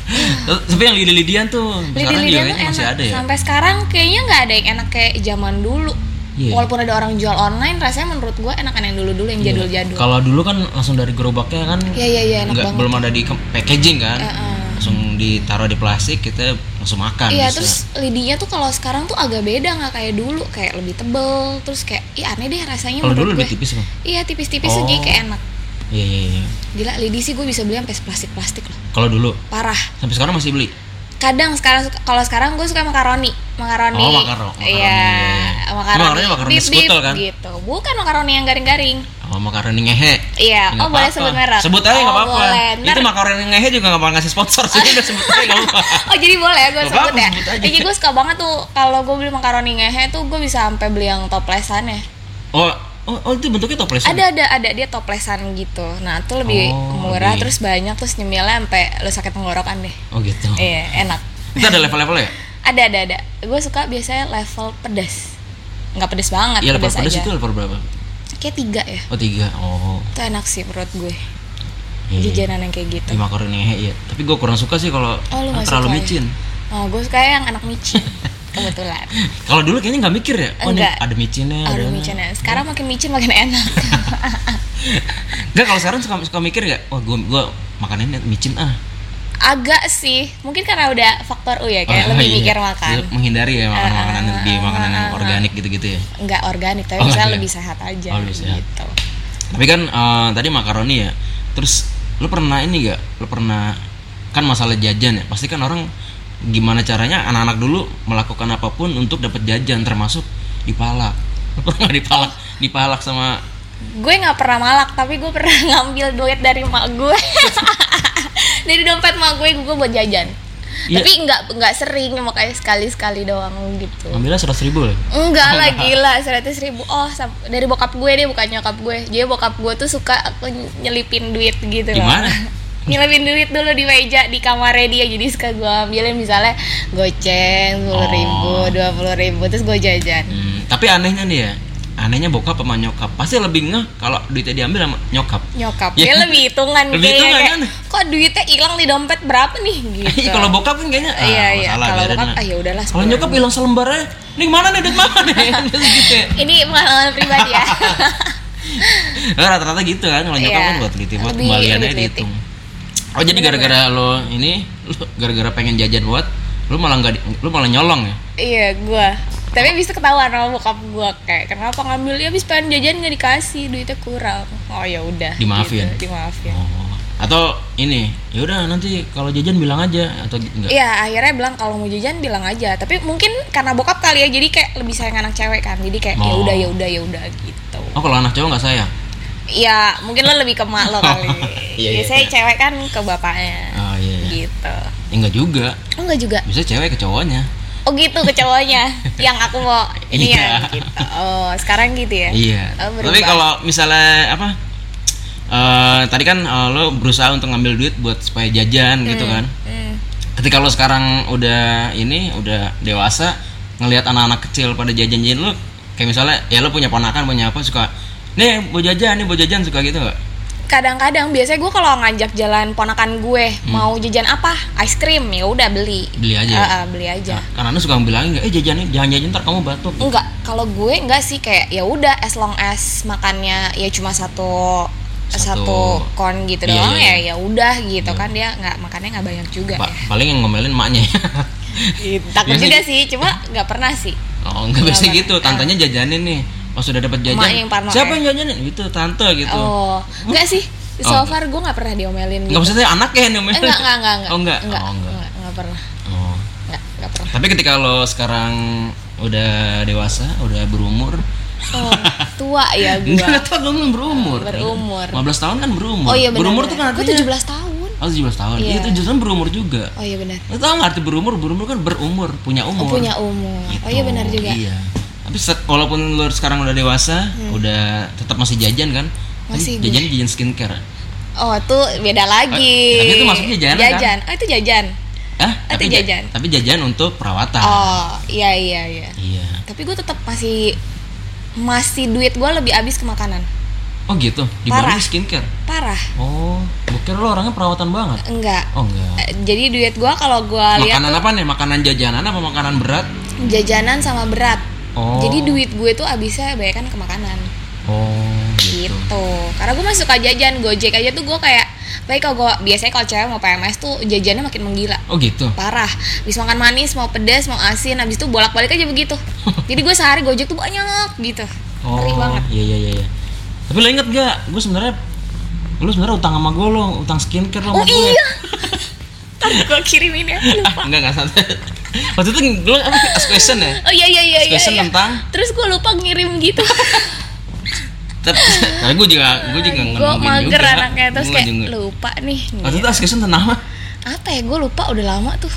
[SPEAKER 1] Tapi yang lidi-lidian tuh sekarang juga
[SPEAKER 2] Lidi-lidian tuh
[SPEAKER 1] kayaknya
[SPEAKER 2] enak.
[SPEAKER 1] masih ada ya.
[SPEAKER 2] Sampai sekarang kayaknya nggak ada yang enak kayak zaman dulu.
[SPEAKER 1] Iya.
[SPEAKER 2] Walaupun ada orang jual online, rasanya menurut gue enakan yang dulu-dulu yang jadul-jadul.
[SPEAKER 1] Kalau dulu kan langsung dari gerobaknya kan
[SPEAKER 2] Iya iya iya enak
[SPEAKER 1] nggak
[SPEAKER 2] banget.
[SPEAKER 1] belum ada di ke- packaging kan.
[SPEAKER 2] Heeh.
[SPEAKER 1] Langsung ditaruh di plastik kita langsung makan.
[SPEAKER 2] Iya
[SPEAKER 1] bisa.
[SPEAKER 2] terus lidinya tuh kalau sekarang tuh agak beda nggak kayak dulu kayak lebih tebel terus kayak ih aneh deh rasanya
[SPEAKER 1] kalau dulu
[SPEAKER 2] menurut
[SPEAKER 1] lebih
[SPEAKER 2] gue.
[SPEAKER 1] tipis kan.
[SPEAKER 2] Iya tipis-tipis
[SPEAKER 1] Oh.
[SPEAKER 2] jadi kayak enak.
[SPEAKER 1] Iya iya iya.
[SPEAKER 2] Gila lidi sih gue bisa beli sampai plastik-plastik loh.
[SPEAKER 1] Kalau dulu
[SPEAKER 2] Parah.
[SPEAKER 1] sampai sekarang masih beli.
[SPEAKER 2] Kadang sekarang suka- kalau sekarang gue suka makaroni, makaroni.
[SPEAKER 1] Oh, makaro- makaroni.
[SPEAKER 2] Iya, makaroni.
[SPEAKER 1] Makaroni makaroni
[SPEAKER 2] Dip-dip
[SPEAKER 1] skutel kan?
[SPEAKER 2] Gitu. Bukan makaroni yang garing-garing.
[SPEAKER 1] Oh, makaroni ngehe.
[SPEAKER 2] Iya,
[SPEAKER 1] Nggak
[SPEAKER 2] oh boleh
[SPEAKER 1] apa-apa.
[SPEAKER 2] sebut merek.
[SPEAKER 1] Sebut aja
[SPEAKER 2] Oh,
[SPEAKER 1] nggak apa-apa.
[SPEAKER 2] boleh. Ntar-
[SPEAKER 1] Itu makaroni ngehe juga nggak bakal ngasih sponsor sih. Udah sebut aja nggak apa-apa.
[SPEAKER 2] Oh jadi boleh gue
[SPEAKER 1] Gak
[SPEAKER 2] sebut
[SPEAKER 1] eh. apa-apa,
[SPEAKER 2] ya.
[SPEAKER 1] sebut aja.
[SPEAKER 2] Jadi gue suka banget tuh kalau gue beli makaroni ngehe tuh gue bisa sampai beli yang toplesannya.
[SPEAKER 1] Oh, oh, oh, itu bentuknya toples.
[SPEAKER 2] Ada ada ada dia toplesan gitu. Nah tuh lebih
[SPEAKER 1] Oh,
[SPEAKER 2] murah
[SPEAKER 1] lebih.
[SPEAKER 2] terus banyak terus nyemilnya sampai lo sakit tenggorokan deh.
[SPEAKER 1] Oh gitu.
[SPEAKER 2] Iya enak.
[SPEAKER 1] Itu ada level-levelnya. ya?
[SPEAKER 2] Ada ada ada. Gue suka biasanya level pedas. Nggak pedas banget.
[SPEAKER 1] Iya level
[SPEAKER 2] pedas
[SPEAKER 1] pedas
[SPEAKER 2] aja.
[SPEAKER 1] itu level berapa?
[SPEAKER 2] Kayak tiga ya.
[SPEAKER 1] Oh tiga. Oh.
[SPEAKER 2] Itu enak sih menurut gue.
[SPEAKER 1] Iya, iya.
[SPEAKER 2] Jajanan yang kayak gitu.
[SPEAKER 1] Di makaroni ngehe iya. Tapi gue kurang suka sih kalau
[SPEAKER 2] Oh lu nggak
[SPEAKER 1] terlalu
[SPEAKER 2] suka ya?
[SPEAKER 1] micin. <laughs>
[SPEAKER 2] Oh gue suka yang anak micin. Kebetulan.
[SPEAKER 1] Kalau dulu kayaknya nggak mikir ya. Oh nih
[SPEAKER 2] Enggak.
[SPEAKER 1] ada micinnya.
[SPEAKER 2] Aduh
[SPEAKER 1] ini.
[SPEAKER 2] micin ya. Sekarang makin micin makin
[SPEAKER 1] <laughs>
[SPEAKER 2] enak.
[SPEAKER 1] Nggak kalau sekarang suka suka mikir nggak? Wah gue gue makanannya micin ah.
[SPEAKER 2] agak sih mungkin karena udah faktor U ya kayak
[SPEAKER 1] Oh,
[SPEAKER 2] lebih
[SPEAKER 1] <laughs> iya.
[SPEAKER 2] mikir makan Ah,
[SPEAKER 1] Jadi Menghindari ya makan makanan lebih makanan yang organik gitu-gitu ya.
[SPEAKER 2] nggak organik tapi
[SPEAKER 1] Oh,
[SPEAKER 2] misalnya
[SPEAKER 1] iya.
[SPEAKER 2] lebih sehat aja
[SPEAKER 1] Oh, lebih sehat.
[SPEAKER 2] gitu
[SPEAKER 1] Tapi kan eh, tadi makaroni ya. Terus lu pernah ini gak? Lu pernah kan masalah jajan ya. Pasti kan orang gimana caranya anak-anak dulu melakukan apapun untuk dapat jajan termasuk dipalak. <laughs> Lu pernah nggak dipalak? Dipalak sama
[SPEAKER 2] gue nggak pernah malak tapi gue pernah <laughs> ngambil duit dari mak gue <laughs> dari dompet mak gue gue buat jajan
[SPEAKER 1] Iya.
[SPEAKER 2] tapi nggak nggak sering makanya sekali sekali doang gitu
[SPEAKER 1] ngambilnya seratus ribu lah.
[SPEAKER 2] Enggak lah gila seratus ribu oh sam- dari bokap gue deh bukan nyokap gue jadi bokap gue tuh suka aku nyelipin duit gitu loh
[SPEAKER 1] Gimana?
[SPEAKER 2] <laughs> nyelipin duit dulu di meja di kamarnya dia jadi suka gue ambilin misalnya goceng sepuluh ribu
[SPEAKER 1] Oh.
[SPEAKER 2] dua puluh ribu terus gue jajan
[SPEAKER 1] Hmm, tapi anehnya nih ya. Anehnya bokap sama nyokap pasti lebih ngeh kalau duitnya diambil sama nyokap.
[SPEAKER 2] nyokap
[SPEAKER 1] Ya.
[SPEAKER 2] dia lebih hitungan
[SPEAKER 1] Lebih
[SPEAKER 2] kayaknya,
[SPEAKER 1] hitungan,
[SPEAKER 2] kayak,
[SPEAKER 1] kan?
[SPEAKER 2] kok duitnya hilang di dompet berapa
[SPEAKER 1] <laughs>
[SPEAKER 2] nih gitu
[SPEAKER 1] kalau bokap kan kayaknya ah,
[SPEAKER 2] Iya,
[SPEAKER 1] masalah,
[SPEAKER 2] iya. Kalau
[SPEAKER 1] biarin
[SPEAKER 2] bokap,
[SPEAKER 1] lah.
[SPEAKER 2] ah, ya udahlah,
[SPEAKER 1] Kalau nyokap hilang selembar aja. Nih mana nih duit mana
[SPEAKER 2] <laughs>
[SPEAKER 1] nih? Terus gitu ya.
[SPEAKER 2] ini pengalaman pribadi ya
[SPEAKER 1] <laughs> Nah, rata-rata gitu kan kalau nyokap
[SPEAKER 2] Iya.
[SPEAKER 1] kan buat teliti buat
[SPEAKER 2] Lebih-
[SPEAKER 1] kembaliannya
[SPEAKER 2] lebih teliti.
[SPEAKER 1] dihitung oh jadi gara-gara lo ini lo gara-gara pengen jajan buat lo malah nggak di- lo malah nyolong ya
[SPEAKER 2] Iya, gua. Tapi bisa ketahuan sama bokap gua kayak kenapa ngambil ya habis pengen jajan nggak dikasih, duitnya kurang. Oh ya udah.
[SPEAKER 1] Dimaafin.
[SPEAKER 2] Gitu, dimaafin.
[SPEAKER 1] oh. atau ini ya udah nanti kalau jajan bilang aja atau gi- enggak
[SPEAKER 2] Iya, akhirnya bilang kalau mau jajan bilang aja. Tapi mungkin karena bokap kali ya, jadi kayak lebih sayang anak cewek kan. Jadi kayak ya
[SPEAKER 1] Oh.
[SPEAKER 2] udah ya udah ya udah gitu.
[SPEAKER 1] oh kalau anak cowok nggak sayang
[SPEAKER 2] Iya, mungkin lo lebih ke mak lo kali.
[SPEAKER 1] <laughs> Iya, iya.
[SPEAKER 2] Biasanya cewek kan ke bapaknya.
[SPEAKER 1] oh iya iya.
[SPEAKER 2] Gitu.
[SPEAKER 1] ya enggak juga
[SPEAKER 2] Oh enggak juga.
[SPEAKER 1] bisa cewek ke cowoknya
[SPEAKER 2] Oh gitu ke
[SPEAKER 1] <laughs>
[SPEAKER 2] cowoknya yang aku mau ini ya
[SPEAKER 1] Iya.
[SPEAKER 2] gitu. Oh, sekarang gitu ya.
[SPEAKER 1] Iya.
[SPEAKER 2] Oh,
[SPEAKER 1] Tapi
[SPEAKER 2] berubah.
[SPEAKER 1] kalau misalnya apa? eh, tadi kan eh, lo berusaha untuk ngambil duit buat supaya jajan gitu kan.
[SPEAKER 2] Hmm.
[SPEAKER 1] Ketika lo sekarang udah ini udah dewasa ngelihat anak-anak kecil pada jajan-jajan lo kayak misalnya ya lo punya ponakan punya apa suka nih mau jajan nih mau jajan suka gitu nggak?
[SPEAKER 2] kadang-kadang biasanya gue kalau ngajak jalan ponakan gue mau jajan apa es krim ya udah beli
[SPEAKER 1] Hmm. Beli aja ya?
[SPEAKER 2] Eh, eh, beli aja
[SPEAKER 1] Nah, Karena lo suka bilangin nggak, eh jajan nih jangan jajan ntar kamu batuk.
[SPEAKER 2] enggak kalau gue enggak sih kayak ya udah as long as makannya ya cuma satu satu,
[SPEAKER 1] Satu-
[SPEAKER 2] kon gitu
[SPEAKER 1] Iya,
[SPEAKER 2] doang
[SPEAKER 1] iya,
[SPEAKER 2] ya ya udah gitu kan dia nggak makannya nggak banyak juga
[SPEAKER 1] Pa-
[SPEAKER 2] ya
[SPEAKER 1] paling yang ngomelin maknya. ya.
[SPEAKER 2] <laughs> takut
[SPEAKER 1] Biasanya-
[SPEAKER 2] juga sih cuma nggak pernah sih
[SPEAKER 1] Oh, enggak biasa gitu. Tantenya jajanin nih. Pas sudah dapat jajan.
[SPEAKER 2] Iya, Emak yang parno,
[SPEAKER 1] siapa
[SPEAKER 2] eh.
[SPEAKER 1] yang jajanin? Gitu, tante gitu.
[SPEAKER 2] oh enggak sih so
[SPEAKER 1] Oh.
[SPEAKER 2] far gue nggak pernah diomelin
[SPEAKER 1] Enggak
[SPEAKER 2] gitu
[SPEAKER 1] maksudnya anaknya yang
[SPEAKER 2] eh,
[SPEAKER 1] diomelin.
[SPEAKER 2] enggak enggak enggak enggak
[SPEAKER 1] Oh, enggak.
[SPEAKER 2] enggak
[SPEAKER 1] Oh, enggak.
[SPEAKER 2] enggak, enggak pernah
[SPEAKER 1] Oh.
[SPEAKER 2] enggak enggak
[SPEAKER 1] <laughs>
[SPEAKER 2] pernah
[SPEAKER 1] Tapi ketika lo sekarang udah dewasa, udah berumur,
[SPEAKER 2] oh tua ya gue
[SPEAKER 1] enggak tau belum berumur.
[SPEAKER 2] Berumur.
[SPEAKER 1] 15 tahun kan berumur.
[SPEAKER 2] Oh iya benar.
[SPEAKER 1] berumur tuh kan
[SPEAKER 2] gue
[SPEAKER 1] artinya
[SPEAKER 2] 17 tahun.
[SPEAKER 1] Oh, 17 tahun.
[SPEAKER 2] Iya.
[SPEAKER 1] Iya, itu justru berumur juga.
[SPEAKER 2] Oh iya benar.
[SPEAKER 1] Lo tau gak arti berumur? Berumur kan berumur, punya umur.
[SPEAKER 2] Punya umur. Oh iya
[SPEAKER 1] Gitu.
[SPEAKER 2] benar juga.
[SPEAKER 1] Iya. Tapi set- walaupun lo sekarang udah dewasa, udah tetap masih jajan kan? Tapi
[SPEAKER 2] Hmm. Masih gue.
[SPEAKER 1] jajan jajan skincare.
[SPEAKER 2] Oh, itu beda lagi.
[SPEAKER 1] Eh, tapi itu masuknya jajanan,
[SPEAKER 2] Jajan. Oh, itu jajan.
[SPEAKER 1] ah
[SPEAKER 2] Atau
[SPEAKER 1] tapi ja-
[SPEAKER 2] jajan?
[SPEAKER 1] tapi jajan untuk perawatan
[SPEAKER 2] Oh, iya iya iya.
[SPEAKER 1] iya
[SPEAKER 2] Tapi gue tetap masih masih duit gue lebih habis ke makanan.
[SPEAKER 1] oh gitu
[SPEAKER 2] Parah.
[SPEAKER 1] dibanding skincare
[SPEAKER 2] Parah.
[SPEAKER 1] oh bukan lo orangnya perawatan banget
[SPEAKER 2] Enggak.
[SPEAKER 1] oh enggak
[SPEAKER 2] Eh, Jadi duit gue kalau gue lihat
[SPEAKER 1] makanan apa nih makanan jajanan apa makanan berat
[SPEAKER 2] jajanan sama berat.
[SPEAKER 1] oh
[SPEAKER 2] Jadi duit gue tuh habisnya banyak ke makanan.
[SPEAKER 1] oh gitu,
[SPEAKER 2] gitu karena gue masih suka jajan gojek aja tuh gue kayak baik kalau gue biasanya kalau cewek mau PMS tuh jajannya makin menggila
[SPEAKER 1] oh gitu
[SPEAKER 2] parah habis makan manis mau pedas mau asin habis itu bolak balik aja
[SPEAKER 1] <laughs>
[SPEAKER 2] begitu jadi gue sehari gojek tuh banyak gitu
[SPEAKER 1] Oh,
[SPEAKER 2] Ngeri banget.
[SPEAKER 1] Iya iya iya. iya. Tapi lo inget gak? Gue sebenarnya lu sebenarnya utang sama gue lo, utang skincare lo ya?
[SPEAKER 2] oh iya <laughs> ntar gue kirimin ya
[SPEAKER 1] <laughs>
[SPEAKER 2] lupa
[SPEAKER 1] enggak enggak Ah, santai. Waktu itu lo apa ask question ya?
[SPEAKER 2] oh iya iya iya iya,
[SPEAKER 1] Question
[SPEAKER 2] iya.
[SPEAKER 1] tentang
[SPEAKER 2] terus gue lupa ngirim
[SPEAKER 1] <laughs>
[SPEAKER 2] gitu
[SPEAKER 1] tapi <laughs> tapi gue juga gue juga
[SPEAKER 2] gue
[SPEAKER 1] ngomongin
[SPEAKER 2] mager
[SPEAKER 1] juga.
[SPEAKER 2] anaknya terus
[SPEAKER 1] Gua
[SPEAKER 2] kayak
[SPEAKER 1] juga.
[SPEAKER 2] lupa nih
[SPEAKER 1] Waktu itu ask question tentang apa?
[SPEAKER 2] apa ya gue lupa udah lama tuh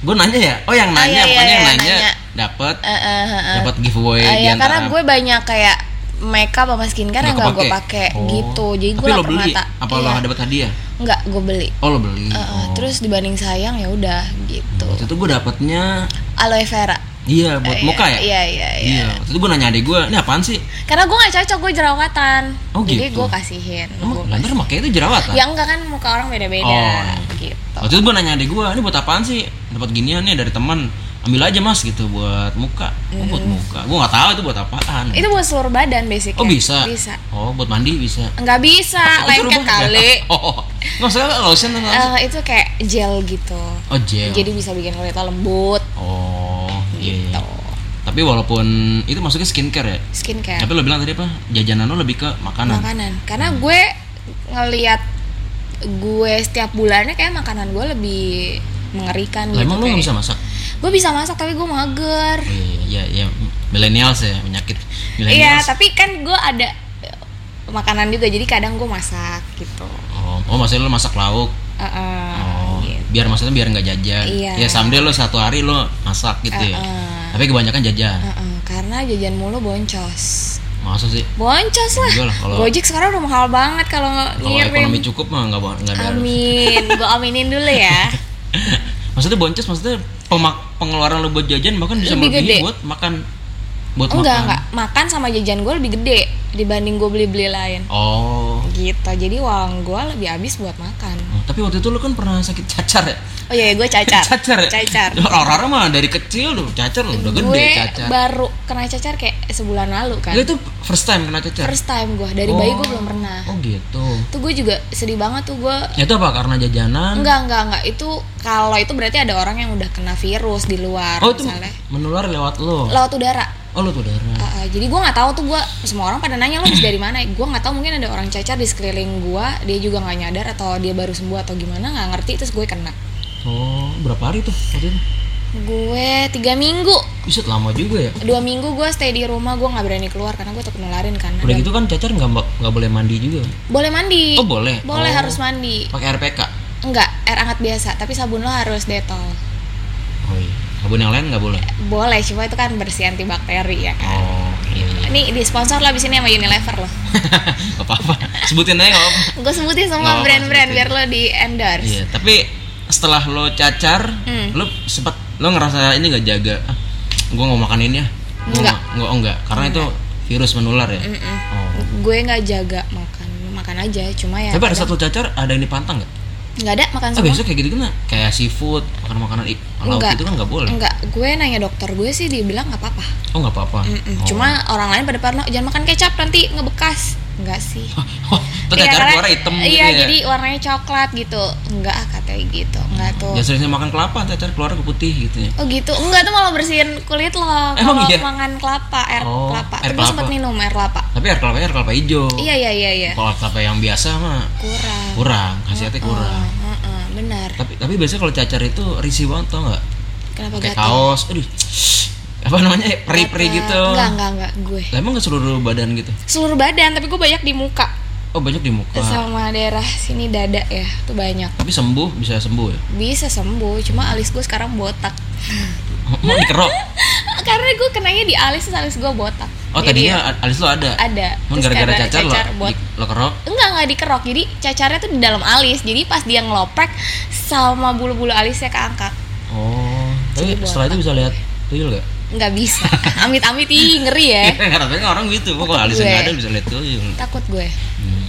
[SPEAKER 1] Gue nanya ya. Oh yang
[SPEAKER 2] Ah, iya,
[SPEAKER 1] nanya,
[SPEAKER 2] iya,
[SPEAKER 1] pokoknya yang
[SPEAKER 2] iya,
[SPEAKER 1] nanya,
[SPEAKER 2] nanya.
[SPEAKER 1] dapat
[SPEAKER 2] Eh, eh, eh, eh.
[SPEAKER 1] dapat giveaway
[SPEAKER 2] Ah,
[SPEAKER 1] di
[SPEAKER 2] iya,
[SPEAKER 1] antara-
[SPEAKER 2] karena gue banyak kayak makeup sama skincare yang gak gue
[SPEAKER 1] kepake.
[SPEAKER 2] pakai
[SPEAKER 1] Oh.
[SPEAKER 2] gitu jadi gue
[SPEAKER 1] Tapi lo
[SPEAKER 2] lapar
[SPEAKER 1] beli?
[SPEAKER 2] mata Iya.
[SPEAKER 1] Apa lo dapet hadiah?
[SPEAKER 2] nggak gue beli
[SPEAKER 1] Oh lo beli.
[SPEAKER 2] Eh, eh,
[SPEAKER 1] Oh.
[SPEAKER 2] terus dibanding sayang ya udah gitu
[SPEAKER 1] Waktu itu gue dapetnya
[SPEAKER 2] aloe vera
[SPEAKER 1] iya buat
[SPEAKER 2] Eh,
[SPEAKER 1] muka ya.
[SPEAKER 2] iya iya iya
[SPEAKER 1] Iya. Waktu itu gue nanya adik gue, ini apaan sih?
[SPEAKER 2] karena gue nggak cocok gue jerawatan
[SPEAKER 1] Oh,
[SPEAKER 2] jadi
[SPEAKER 1] gitu.
[SPEAKER 2] gue kasihin
[SPEAKER 1] Emang
[SPEAKER 2] Gua-
[SPEAKER 1] lantar makanya itu jerawatan?
[SPEAKER 2] ya enggak kan muka orang beda beda
[SPEAKER 1] Oh.
[SPEAKER 2] gitu
[SPEAKER 1] Waktu itu gue nanya adik gue, ini buat apaan sih? Dapat ginian nih dari teman, ambil aja mas gitu buat muka. Oh, buat muka, gue nggak tahu itu buat apaan.
[SPEAKER 2] Iya. itu buat seluruh badan basicnya
[SPEAKER 1] oh bisa.
[SPEAKER 2] bisa
[SPEAKER 1] Oh buat mandi bisa.
[SPEAKER 2] nggak bisa
[SPEAKER 1] Oh, itu
[SPEAKER 2] lengket
[SPEAKER 1] rubah nggak?
[SPEAKER 2] kali
[SPEAKER 1] <laughs> Oh, oh. nggak usah lotion atau apa?
[SPEAKER 2] Eh, itu kayak gel gitu
[SPEAKER 1] Oh gel.
[SPEAKER 2] jadi bisa bikin kulit lo lembut
[SPEAKER 1] Oh iya. iya.
[SPEAKER 2] gitu
[SPEAKER 1] Tapi walaupun itu masuknya skincare ya.
[SPEAKER 2] skincare
[SPEAKER 1] Tapi lo bilang tadi apa? Jajanan lo lebih ke makanan.
[SPEAKER 2] Iya. makanan karena gue ngelihat gue setiap bulannya kayak makanan gue lebih mengerikan
[SPEAKER 1] Lah,
[SPEAKER 2] gitu
[SPEAKER 1] emang lo
[SPEAKER 2] kayak.
[SPEAKER 1] nggak bisa masak?
[SPEAKER 2] gue bisa masak tapi gue mager
[SPEAKER 1] Oh, iya iya iya. Millennials ya penyakit.
[SPEAKER 2] iya
[SPEAKER 1] Millennials.
[SPEAKER 2] tapi kan gue ada eh, makanan juga jadi kadang gue masak gitu
[SPEAKER 1] Oh, oh maksudnya lo masak lauk?
[SPEAKER 2] Heeh,
[SPEAKER 1] Oh,
[SPEAKER 2] gitu.
[SPEAKER 1] biar maksudnya biar nggak jajan.
[SPEAKER 2] Iya. Ah,
[SPEAKER 1] Ya someday lo satu hari lo masak gitu ya.
[SPEAKER 2] Heeh.
[SPEAKER 1] Tapi kebanyakan jajan.
[SPEAKER 2] Heeh, karena jajan mulu boncos
[SPEAKER 1] Masa sih?
[SPEAKER 2] boncos lah
[SPEAKER 1] Iya lah, kalau-
[SPEAKER 2] gojek sekarang udah mahal banget kalau
[SPEAKER 1] Kalau ekonomi
[SPEAKER 2] ngirim
[SPEAKER 1] cukup mah nggak nggak ada.
[SPEAKER 2] Iya, amin gue aminin dulu
[SPEAKER 1] <laughs>
[SPEAKER 2] ya
[SPEAKER 1] Maksudnya boncos maksudnya pemak- pengeluaran lo buat jajan bahkan bisa
[SPEAKER 2] Lebih
[SPEAKER 1] melebihi
[SPEAKER 2] gede.
[SPEAKER 1] buat makan buat
[SPEAKER 2] enggak
[SPEAKER 1] makan.
[SPEAKER 2] enggak makan sama jajan gue lebih gede dibanding gue beli beli lain
[SPEAKER 1] Oh.
[SPEAKER 2] gitu jadi uang gue lebih habis buat makan
[SPEAKER 1] Oh, Tapi waktu itu lo kan pernah sakit cacar ya?
[SPEAKER 2] oh iya gue cacar
[SPEAKER 1] <laughs> cacar ya?
[SPEAKER 2] cacar
[SPEAKER 1] Orang-orang mah dari kecil lo cacar lo udah gede
[SPEAKER 2] gue
[SPEAKER 1] cacar.
[SPEAKER 2] baru kena cacar kayak sebulan lalu kan
[SPEAKER 1] Lo itu first time kena cacar.
[SPEAKER 2] first time gue dari bayi gue
[SPEAKER 1] Oh.
[SPEAKER 2] belum pernah
[SPEAKER 1] Oh gitu. Ya
[SPEAKER 2] tuh gue juga sedih banget tuh gue
[SPEAKER 1] Itu apa karena jajanan?
[SPEAKER 2] enggak enggak enggak itu kalau itu berarti ada orang yang udah kena virus di luar
[SPEAKER 1] Oh itu
[SPEAKER 2] misalnya
[SPEAKER 1] menular lewat lo.
[SPEAKER 2] lewat udara
[SPEAKER 1] Oh lu tuh darah.
[SPEAKER 2] Ah, ah, jadi gue nggak tahu tuh gue semua orang pada nanya lo habis dari mana gue nggak tahu mungkin ada orang cacar di sekeliling gue dia juga nggak nyadar atau dia baru sembuh atau gimana nggak ngerti terus gue kena
[SPEAKER 1] Oh, berapa hari tuh waktu itu?
[SPEAKER 2] gue tiga minggu
[SPEAKER 1] Buset, lama juga ya.
[SPEAKER 2] dua minggu gue stay di rumah gue nggak berani keluar karena gue takut nularin kan
[SPEAKER 1] Udah
[SPEAKER 2] Ada-
[SPEAKER 1] gitu kan cacar nggak mbak- nggak boleh mandi juga.
[SPEAKER 2] boleh mandi
[SPEAKER 1] Oh, boleh.
[SPEAKER 2] boleh
[SPEAKER 1] Oh.
[SPEAKER 2] harus mandi
[SPEAKER 1] Pakai RPK.
[SPEAKER 2] enggak air hangat biasa tapi sabun lo harus detol
[SPEAKER 1] Oh iya. Sabun yang lain nggak boleh.
[SPEAKER 2] boleh cuma itu kan bersih antibakteri ya kan
[SPEAKER 1] Oh iya. iya. <laughs>
[SPEAKER 2] ini di sponsor lah di sini sama Unilever loh
[SPEAKER 1] gak apa-apa. Sebutin aja nggak apa.
[SPEAKER 2] gue sebutin
[SPEAKER 1] Nggak
[SPEAKER 2] semua
[SPEAKER 1] apa-apa,
[SPEAKER 2] brand-brand
[SPEAKER 1] sebutin.
[SPEAKER 2] biar lo di endorse
[SPEAKER 1] Oh, Iya. Tapi setelah lo cacar,
[SPEAKER 2] Hmm.
[SPEAKER 1] lo sempet lo ngerasa ini nggak jaga? Ah, gua nggak mau makan ini ya. Gua
[SPEAKER 2] Nggak. Hmm.
[SPEAKER 1] nggak- Nggak, oh, nggak. Karena itu virus menular ya.
[SPEAKER 2] Mm-mm.
[SPEAKER 1] Oh.
[SPEAKER 2] gue nggak jaga makan makan aja cuma ya
[SPEAKER 1] Tapi ada
[SPEAKER 2] kadang-
[SPEAKER 1] satu cacar ada yang dipantang nggak?
[SPEAKER 2] nggak ada makan
[SPEAKER 1] Ah,
[SPEAKER 2] semua
[SPEAKER 1] biasanya kayak gitu kan kayak seafood, makan makanan laut
[SPEAKER 2] Nggak.
[SPEAKER 1] itu kan nggak boleh.
[SPEAKER 2] nggak gue nanya dokter gue sih dia bilang nggak apa-apa
[SPEAKER 1] Oh nggak apa-apa.
[SPEAKER 2] Mm-mm.
[SPEAKER 1] Oh.
[SPEAKER 2] cuma orang lain pada parno jangan makan kecap nanti ngebekas nggak
[SPEAKER 1] <laughs>
[SPEAKER 2] sih
[SPEAKER 1] <laughs> Oh, tuh
[SPEAKER 2] Iya,
[SPEAKER 1] cacar
[SPEAKER 2] karena-
[SPEAKER 1] keluar hitam gitu
[SPEAKER 2] iya
[SPEAKER 1] ya.
[SPEAKER 2] jadi warnanya coklat gitu nggak katanya gitu nggak tuh
[SPEAKER 1] Jangan Ya, seringnya makan kelapa, cacar keluar ke putih gitu ya.
[SPEAKER 2] Oh gitu, enggak tuh malah bersihin kulit lo
[SPEAKER 1] Emang
[SPEAKER 2] kalau
[SPEAKER 1] iya?
[SPEAKER 2] makan kelapa, air
[SPEAKER 1] Oh,
[SPEAKER 2] kelapa.
[SPEAKER 1] air
[SPEAKER 2] Tuh gue sempet
[SPEAKER 1] kelapa. Oh.
[SPEAKER 2] minum air kelapa.
[SPEAKER 1] Tapi air kelapa air kelapa hijau.
[SPEAKER 2] Iya iya iya iya.
[SPEAKER 1] Kalau kelapa yang biasa mah
[SPEAKER 2] Kurang.
[SPEAKER 1] kurang, khasiatnya kurang.
[SPEAKER 2] Heeh, heeh, benar.
[SPEAKER 1] Tapi tapi biasanya kalau cacar itu risih banget tau nggak?
[SPEAKER 2] Kenapa
[SPEAKER 1] Kayak
[SPEAKER 2] gatal?
[SPEAKER 1] kaos, aduh. Apa namanya? Peri-peri
[SPEAKER 2] Gatal.
[SPEAKER 1] gitu.
[SPEAKER 2] Enggak enggak enggak gue.
[SPEAKER 1] Lah, emang nggak seluruh badan gitu?
[SPEAKER 2] Seluruh badan, tapi gue banyak di muka
[SPEAKER 1] Oh banyak di muka.
[SPEAKER 2] sama daerah sini dada ya, tuh banyak.
[SPEAKER 1] Tapi sembuh bisa sembuh ya. <laughs>
[SPEAKER 2] Bisa sembuh, cuma alis gue sekarang botak.
[SPEAKER 1] Mau dikerok.
[SPEAKER 2] Karena gue kenanya di alis, terus alis gue botak.
[SPEAKER 1] Oh
[SPEAKER 2] Jadi
[SPEAKER 1] tadinya alis lo ada.
[SPEAKER 2] ada.
[SPEAKER 1] Cuman
[SPEAKER 2] Terus
[SPEAKER 1] gara-gara
[SPEAKER 2] karena
[SPEAKER 1] cacar,
[SPEAKER 2] cacar
[SPEAKER 1] lo,
[SPEAKER 2] bot-
[SPEAKER 1] di- lo kerok.
[SPEAKER 2] enggak enggak dikerok jadi cacarnya tuh di dalam alis jadi pas dia ngeloprek sama bulu-bulu alisnya keangkat
[SPEAKER 1] Oh, tapi setelah itu bisa lihat tuyul <laughs> gak?
[SPEAKER 2] nggak bisa <laughs> amit-amit ih ngeri ya
[SPEAKER 1] Katanya orang gitu, kok kalau alisnya
[SPEAKER 2] Gue.
[SPEAKER 1] nggak ada bisa lihat tuyul.
[SPEAKER 2] takut gue
[SPEAKER 1] Hmm.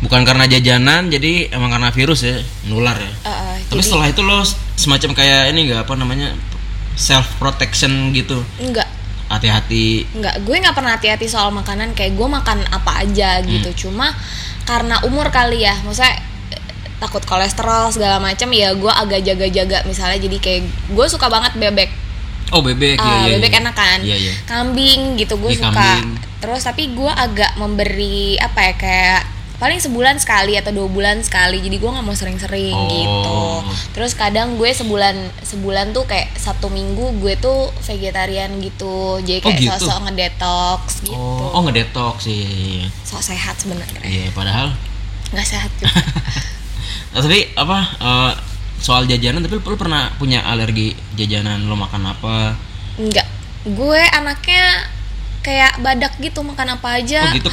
[SPEAKER 1] Bukan karena jajanan, jadi emang karena virus ya, nular ya.
[SPEAKER 2] Eh, eh,
[SPEAKER 1] Tapi
[SPEAKER 2] jadi
[SPEAKER 1] setelah itu lo semacam kayak ini nggak apa namanya self protection gitu,
[SPEAKER 2] nggak
[SPEAKER 1] hati-hati.
[SPEAKER 2] nggak gue nggak pernah hati-hati soal makanan kayak gue makan apa aja gitu cuma karena umur kali ya maksudnya eh, takut kolesterol segala macam ya gue agak jaga-jaga misalnya jadi kayak gue suka banget bebek
[SPEAKER 1] Oh bebek, ya,
[SPEAKER 2] Ah,
[SPEAKER 1] ya,
[SPEAKER 2] bebek
[SPEAKER 1] ya.
[SPEAKER 2] enak kan
[SPEAKER 1] Iya iya.
[SPEAKER 2] kambing gitu gue
[SPEAKER 1] Iya,
[SPEAKER 2] suka
[SPEAKER 1] kambing.
[SPEAKER 2] terus tapi gue agak memberi apa ya kayak paling sebulan sekali atau dua bulan sekali jadi gue nggak mau sering-sering
[SPEAKER 1] Oh.
[SPEAKER 2] gitu terus kadang gue sebulan sebulan tuh kayak satu minggu gue tuh vegetarian gitu jadi
[SPEAKER 1] Oh,
[SPEAKER 2] kayak
[SPEAKER 1] gitu?
[SPEAKER 2] sosok ngedetox gitu
[SPEAKER 1] Oh, oh ngedetox sih. Iya, iya.
[SPEAKER 2] sok sehat sebenarnya
[SPEAKER 1] Iya, padahal
[SPEAKER 2] nggak sehat juga
[SPEAKER 1] Nah, tapi apa eh, soal jajanan tapi lu, lu pernah punya alergi jajanan lo makan apa?
[SPEAKER 2] nggak gue anaknya kayak badak gitu makan apa aja
[SPEAKER 1] Oh, gitu,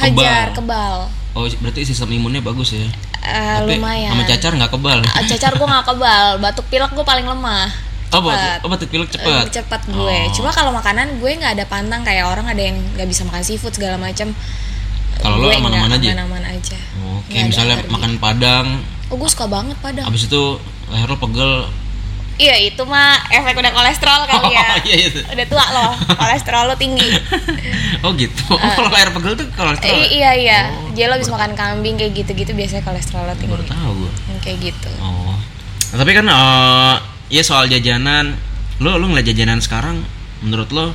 [SPEAKER 1] kebal.
[SPEAKER 2] hajar kebal,
[SPEAKER 1] Oh berarti sistem imunnya bagus ya.
[SPEAKER 2] Eh,
[SPEAKER 1] tapi
[SPEAKER 2] lumayan
[SPEAKER 1] sama cacar nggak kebal.
[SPEAKER 2] Ah,
[SPEAKER 1] <laughs>
[SPEAKER 2] cacar gue gak kebal batuk pilek gue paling lemah
[SPEAKER 1] Oh batuk, oh, batuk pilek cepet.
[SPEAKER 2] Eh, cepet gue
[SPEAKER 1] Oh.
[SPEAKER 2] cuma kalau makanan gue nggak ada pantang kayak orang ada yang nggak bisa makan seafood segala macam
[SPEAKER 1] Kalau lo
[SPEAKER 2] Gue
[SPEAKER 1] aman-aman
[SPEAKER 2] nggak
[SPEAKER 1] aja?
[SPEAKER 2] aman-aman aja
[SPEAKER 1] Oh,
[SPEAKER 2] Nggak ada
[SPEAKER 1] kayak misalnya
[SPEAKER 2] alergi.
[SPEAKER 1] makan padang,
[SPEAKER 2] oh gue suka banget padang
[SPEAKER 1] habis itu leher lo pegel.
[SPEAKER 2] iya itu mah efek udah kolesterol kali ya
[SPEAKER 1] <laughs> Oh, iya, iya.
[SPEAKER 2] udah tua loh kolesterol lo
[SPEAKER 1] <laughs>
[SPEAKER 2] tinggi
[SPEAKER 1] Oh gitu. Oh, <laughs> kalau leher pegel tuh kolesterol.
[SPEAKER 2] Eh,
[SPEAKER 1] ya?
[SPEAKER 2] iya iya jadi lo habis makan kambing kayak gitu-gitu biasanya kolesterol lo
[SPEAKER 1] Baru
[SPEAKER 2] tinggi
[SPEAKER 1] tahu gue.
[SPEAKER 2] Hmm, kayak gitu
[SPEAKER 1] Oh. Nah, tapi kan eh, ya soal jajanan, lu lu ngeliat jajanan sekarang menurut lo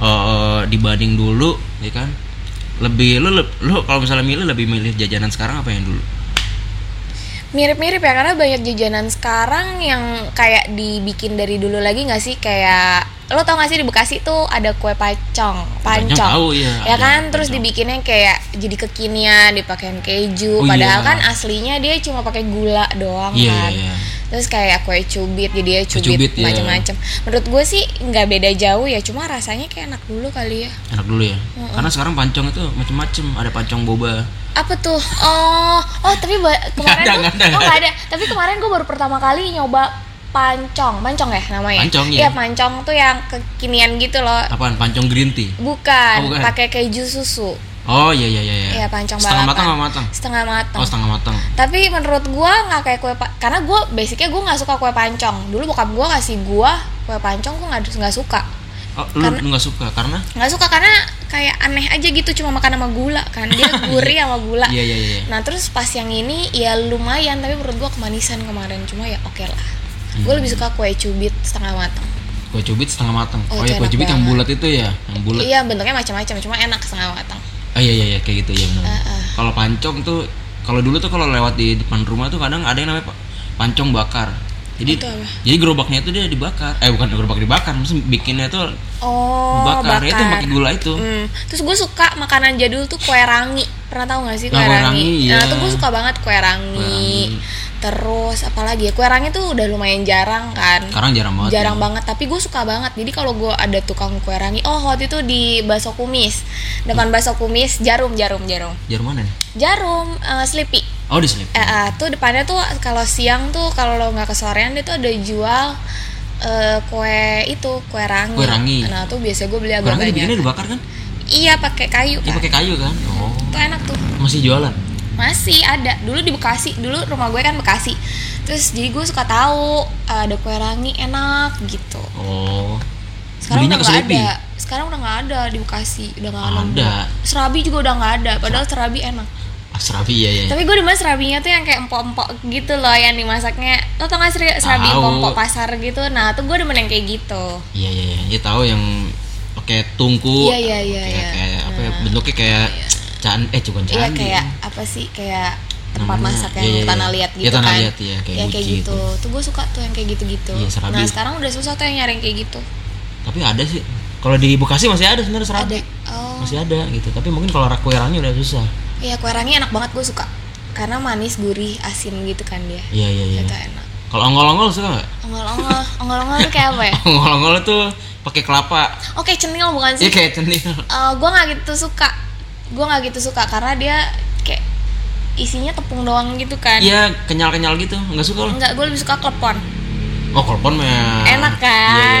[SPEAKER 1] eh, dibanding dulu ya kan? Lebih lu leb- lu kalau misalnya milih lebih milih jajanan sekarang apa yang dulu?
[SPEAKER 2] mirip-mirip ya karena banyak jajanan sekarang yang kayak dibikin dari dulu lagi nggak sih kayak lo tau gak sih di Bekasi tuh ada kue pacong pancong
[SPEAKER 1] tahu, iya, ada
[SPEAKER 2] ya kan terus dibikinnya kayak jadi kekinian dipakein
[SPEAKER 1] Oh,
[SPEAKER 2] keju padahal
[SPEAKER 1] iya.
[SPEAKER 2] kan aslinya dia cuma pakai gula doang
[SPEAKER 1] Iya,
[SPEAKER 2] kan
[SPEAKER 1] iya, iya.
[SPEAKER 2] terus kayak kue cubit jadi dia
[SPEAKER 1] Kue
[SPEAKER 2] cubit,
[SPEAKER 1] cubit, iya.
[SPEAKER 2] macam-macam menurut gue sih nggak beda jauh ya cuma rasanya kayak enak dulu kali ya
[SPEAKER 1] Enak dulu ya. Karena sekarang pancong itu macem-macem, ada pancong boba.
[SPEAKER 2] apa tuh oh oh tapi ba- kemarin
[SPEAKER 1] ada,
[SPEAKER 2] tuh-
[SPEAKER 1] nggak ada,
[SPEAKER 2] oh
[SPEAKER 1] nggak
[SPEAKER 2] nggak ada tapi kemarin gue baru pertama kali nyoba pancong pancong ya namanya
[SPEAKER 1] Pancong,
[SPEAKER 2] iya
[SPEAKER 1] iya.
[SPEAKER 2] pancong tuh yang kekinian gitu loh
[SPEAKER 1] Apaan? Pancong green tea.
[SPEAKER 2] bukan,
[SPEAKER 1] Oh, bukan.
[SPEAKER 2] pakai keju susu
[SPEAKER 1] Oh iya iya iya.
[SPEAKER 2] Iya, pancong
[SPEAKER 1] Setengah
[SPEAKER 2] balapan.
[SPEAKER 1] matang apa matang?
[SPEAKER 2] setengah matang
[SPEAKER 1] Oh, setengah matang.
[SPEAKER 2] tapi menurut gue nggak kayak kue pa- karena gue basicnya gue nggak suka kue pancong dulu bokap gue kasih gue kue pancong gue nggak nggak suka
[SPEAKER 1] Oh, lu
[SPEAKER 2] Karena-
[SPEAKER 1] lu nggak suka karena?
[SPEAKER 2] nggak suka karena kayak aneh aja gitu cuma makan sama gula kan
[SPEAKER 1] <laughs>
[SPEAKER 2] dia gurih sama gula
[SPEAKER 1] Iya iya iya.
[SPEAKER 2] Nah terus pas yang ini ya lumayan tapi menurut gua kemanisan kemarin cuma ya oke lah. Gue
[SPEAKER 1] Hmm.
[SPEAKER 2] lebih suka kue cubit setengah matang.
[SPEAKER 1] Kue cubit setengah matang.
[SPEAKER 2] Oh,
[SPEAKER 1] Oh, iya
[SPEAKER 2] itu
[SPEAKER 1] kue
[SPEAKER 2] enak
[SPEAKER 1] cubit yang
[SPEAKER 2] banget.
[SPEAKER 1] bulat itu ya, yang bulat.
[SPEAKER 2] Iya bentuknya macam-macam cuma enak setengah matang.
[SPEAKER 1] Oh iya iya, iya kayak gitu ya benar.
[SPEAKER 2] Heeh.
[SPEAKER 1] Kalau pancong tuh kalau dulu tuh kalau lewat di depan rumah tuh kadang ada yang namanya pa- pancong bakar. Jadi
[SPEAKER 2] Itu apa?
[SPEAKER 1] jadi gerobaknya itu dia dibakar. Eh bukan gerobak dibakar, maksudnya bikinnya tuh
[SPEAKER 2] Oh
[SPEAKER 1] bakar.
[SPEAKER 2] bakar.
[SPEAKER 1] Ya, itu pakai gula itu.
[SPEAKER 2] Hmm. Terus gue suka makanan jadul tuh kue rangi. Pernah tahu gak sih kue
[SPEAKER 1] Nah, kue rangi,
[SPEAKER 2] rangi?
[SPEAKER 1] iya.
[SPEAKER 2] Nah tuh gue suka banget kue rangi. Terus apalagi ya kue rangi tuh udah lumayan jarang kan.
[SPEAKER 1] Sekarang jarang banget.
[SPEAKER 2] jarang
[SPEAKER 1] ya.
[SPEAKER 2] banget tapi gue suka banget jadi kalau gue ada tukang kue rangi oh waktu itu di bakso kumis
[SPEAKER 1] Hmm.
[SPEAKER 2] depan bakso kumis jarum jarum jarum
[SPEAKER 1] Jarang mana nih?
[SPEAKER 2] jarum eh, sleepy
[SPEAKER 1] Oh di Sleepy.
[SPEAKER 2] eh, eh, tuh depannya tuh kalau siang tuh kalau lo nggak kesorean dia tuh ada jual eh, kue itu kue rangi.
[SPEAKER 1] Kue rangi.
[SPEAKER 2] nah tuh biasanya gue beli agak
[SPEAKER 1] Kurangnya
[SPEAKER 2] banyak
[SPEAKER 1] dibikinnya dibakar kan?
[SPEAKER 2] iya pakai kayu
[SPEAKER 1] Dia
[SPEAKER 2] kan
[SPEAKER 1] pakai kayu kan? Oh.
[SPEAKER 2] tuh enak tuh
[SPEAKER 1] Masih jualan.
[SPEAKER 2] masih ada dulu di Bekasi dulu rumah gue kan Bekasi terus jadi gue suka tahu eh, ada kue rangi enak gitu
[SPEAKER 1] Oh.
[SPEAKER 2] sekarang
[SPEAKER 1] Belinya
[SPEAKER 2] udah
[SPEAKER 1] ke
[SPEAKER 2] nggak
[SPEAKER 1] Sleepy?
[SPEAKER 2] ada sekarang udah nggak ada di Bekasi udah nggak
[SPEAKER 1] Ada.
[SPEAKER 2] serabi juga udah nggak ada padahal serabi enak
[SPEAKER 1] Asrafi ya ya.
[SPEAKER 2] Tapi gue demen serabinya tuh yang kayak empok-empok gitu loh yang dimasaknya. Lo tau gak sih serabi
[SPEAKER 1] Tahu.
[SPEAKER 2] empok-empok pasar gitu? Nah, tuh gue demen yang kayak gitu.
[SPEAKER 1] Iya iya iya. Ya tahu yang pakai tungku.
[SPEAKER 2] Iya, iya, iya,
[SPEAKER 1] Kayak,
[SPEAKER 2] iya.
[SPEAKER 1] kayak apa ya? Bentuknya kayak can eh bukan candi.
[SPEAKER 2] Iya kayak apa sih? Kayak tempat
[SPEAKER 1] Namanya,
[SPEAKER 2] masak
[SPEAKER 1] iya,
[SPEAKER 2] yang
[SPEAKER 1] iya,
[SPEAKER 2] tanah
[SPEAKER 1] iya.
[SPEAKER 2] liat
[SPEAKER 1] Iya,
[SPEAKER 2] gitu
[SPEAKER 1] tanah
[SPEAKER 2] kan.
[SPEAKER 1] liat, iya, kayak
[SPEAKER 2] Ya,
[SPEAKER 1] buci
[SPEAKER 2] gitu. Tuh gue suka tuh yang kayak gitu-gitu.
[SPEAKER 1] Iya, serabi.
[SPEAKER 2] nah, sekarang udah susah tuh yang nyari yang kayak gitu.
[SPEAKER 1] tapi ada sih kalau di Bekasi masih ada sebenarnya
[SPEAKER 2] Ada.
[SPEAKER 1] serabi
[SPEAKER 2] Oh.
[SPEAKER 1] masih ada gitu tapi mungkin kalau kue rangi udah susah
[SPEAKER 2] Iya, kue rangi enak banget gue suka. Karena manis, gurih, asin gitu kan dia.
[SPEAKER 1] iya iya iya
[SPEAKER 2] Itu enak.
[SPEAKER 1] kalau ongol-ongol suka nggak <laughs>
[SPEAKER 2] Ongol-ongol, ongol-ongol tuh kayak apa ya?
[SPEAKER 1] ongol-ongol tuh pakai kelapa
[SPEAKER 2] Oke, cenil bukan sih?
[SPEAKER 1] iya
[SPEAKER 2] Kan. Eh,
[SPEAKER 1] kayak cendil
[SPEAKER 2] gue nggak gitu suka gue nggak gitu suka karena dia kayak isinya tepung doang gitu kan
[SPEAKER 1] Iya kenyal-kenyal gitu, nggak suka lo?
[SPEAKER 2] Enggak, gue lebih suka klepon
[SPEAKER 1] Oh kolpon mah
[SPEAKER 2] Enak kan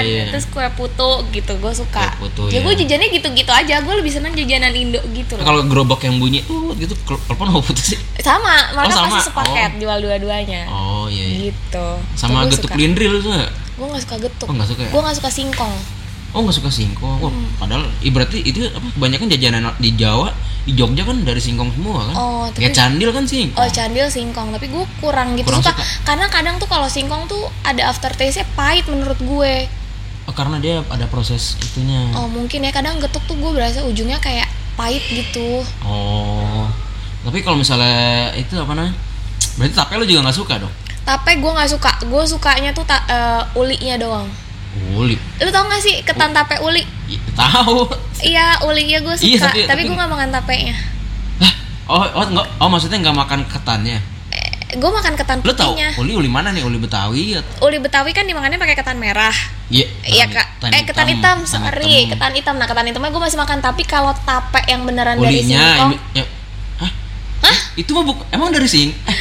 [SPEAKER 1] Iya, iya, iya.
[SPEAKER 2] Terus kue putu gitu, gue suka
[SPEAKER 1] Kue putu, iya.
[SPEAKER 2] Ya gue jajannya gitu-gitu aja Gue lebih seneng jajanan Indo gitu
[SPEAKER 1] Nah,
[SPEAKER 2] loh
[SPEAKER 1] Kalau gerobak yang bunyi uh, gitu kol- kolpon apa putus sih?
[SPEAKER 2] Sama,
[SPEAKER 1] Oh,
[SPEAKER 2] mereka
[SPEAKER 1] sama.
[SPEAKER 2] pasti sepaket jual dua-duanya
[SPEAKER 1] Oh iya. iya.
[SPEAKER 2] Gitu
[SPEAKER 1] Sama
[SPEAKER 2] Tuh, gua
[SPEAKER 1] getuk
[SPEAKER 2] suka.
[SPEAKER 1] lindri lu tuh nggak?
[SPEAKER 2] Gue gak suka getuk
[SPEAKER 1] Oh, nggak suka ya?
[SPEAKER 2] Gue gak suka singkong
[SPEAKER 1] Oh nggak suka singkong. Wah,
[SPEAKER 2] Hmm.
[SPEAKER 1] padahal i, berarti itu apa kebanyakan jajanan di Jawa, di Jogja kan dari singkong semua kan.
[SPEAKER 2] Oh, tapi-
[SPEAKER 1] Kayak candil kan singkong.
[SPEAKER 2] Oh candil singkong Tapi gue kurang gitu
[SPEAKER 1] Kurang
[SPEAKER 2] suka.
[SPEAKER 1] suka.
[SPEAKER 2] Karena kadang tuh kalau singkong tuh Ada aftertaste-nya pahit menurut gue
[SPEAKER 1] Oh, karena dia ada proses itunya.
[SPEAKER 2] Oh mungkin ya kadang getuk tuh gue berasa ujungnya kayak pahit gitu
[SPEAKER 1] Oh. Tapi kalau misalnya itu apa namanya? Berarti tape lu juga nggak suka dong?
[SPEAKER 2] Tapi gue nggak suka Gue sukanya tuh ta- eh, ulinya doang
[SPEAKER 1] Uli.
[SPEAKER 2] Lu tau gak sih
[SPEAKER 1] Oh.
[SPEAKER 2] ketan tape uli?
[SPEAKER 1] Ih, Tahu.
[SPEAKER 2] Iya ulinya gue suka
[SPEAKER 1] Iya,
[SPEAKER 2] Tapi,
[SPEAKER 1] tapi- tapi-
[SPEAKER 2] gue gak makan tapenya
[SPEAKER 1] Hah? Oh, oh, enggak. oh maksudnya nggak makan ketannya?
[SPEAKER 2] eh, Gue makan ketan
[SPEAKER 1] Lu tahu
[SPEAKER 2] putihnya
[SPEAKER 1] uli uli mana nih? Uli Betawi ya? atau
[SPEAKER 2] Uli Betawi kan dimakannya pakai ketan merah
[SPEAKER 1] Iya.
[SPEAKER 2] Iya kak, eh ketan hitam, sorry, ketan hitam. Nah ketan hitamnya gue masih makan, tapi kalau tape yang beneran dari
[SPEAKER 1] Ulinya
[SPEAKER 2] singkong,
[SPEAKER 1] ini- ya. Hah? Itu mah buk- emang dari sing. eh,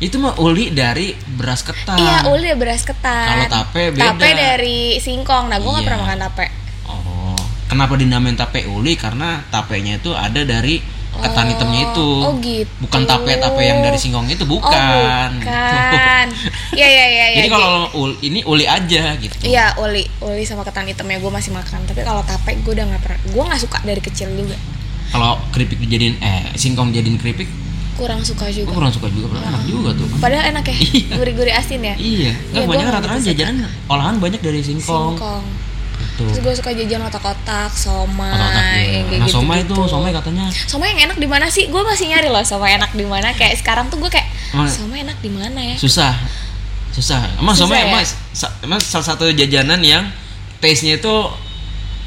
[SPEAKER 1] itu mah uli dari beras ketan.
[SPEAKER 2] iya uli ya beras ketan.
[SPEAKER 1] Kalau tape beda.
[SPEAKER 2] Tape dari singkong, nah gue nggak
[SPEAKER 1] Iya.
[SPEAKER 2] pernah makan tape.
[SPEAKER 1] Oh. Kenapa dinamain tape uli? Karena tapenya itu ada dari ketan hitamnya itu.
[SPEAKER 2] oh gitu.
[SPEAKER 1] Bukan tape-tape yang dari singkong itu bukan.
[SPEAKER 2] Oh
[SPEAKER 1] <laughs>
[SPEAKER 2] bukan, iya iya iya. iya.
[SPEAKER 1] Jadi kalau ul- ini uli aja gitu.
[SPEAKER 2] Iya uli, uli sama ketan hitamnya gue masih makan, tapi kalau tape gue udah nggak pernah, gue nggak suka dari kecil juga,
[SPEAKER 1] Kalau keripik dijadiin eh singkong jadiin keripik,
[SPEAKER 2] kurang suka
[SPEAKER 1] gue
[SPEAKER 2] juga.
[SPEAKER 1] kurang suka juga, padahal enak juga tuh.
[SPEAKER 2] Padahal enak ya,
[SPEAKER 1] Iya.
[SPEAKER 2] gurih-gurih asin ya.
[SPEAKER 1] Iya,
[SPEAKER 2] Iya,
[SPEAKER 1] nggak
[SPEAKER 2] gua
[SPEAKER 1] banyak
[SPEAKER 2] nggak
[SPEAKER 1] rata-rata
[SPEAKER 2] suka.
[SPEAKER 1] jajanan olahan banyak dari singkong.
[SPEAKER 2] Singkong.
[SPEAKER 1] Gitu.
[SPEAKER 2] Terus gue suka jajan otak-otak, somai,
[SPEAKER 1] Otak-otak juga.
[SPEAKER 2] yang kayak gitu
[SPEAKER 1] Nah, somai
[SPEAKER 2] gitu-gitu.
[SPEAKER 1] itu, somai katanya
[SPEAKER 2] Somai yang enak di mana sih? Gue masih nyari loh somai enak di mana. Kayak sekarang tuh gue kayak
[SPEAKER 1] Emang-
[SPEAKER 2] somai enak di mana ya?
[SPEAKER 1] susah. Susah. Emang
[SPEAKER 2] Susah
[SPEAKER 1] somai
[SPEAKER 2] ya?
[SPEAKER 1] emang, sa- emang salah satu jajanan yang taste-nya itu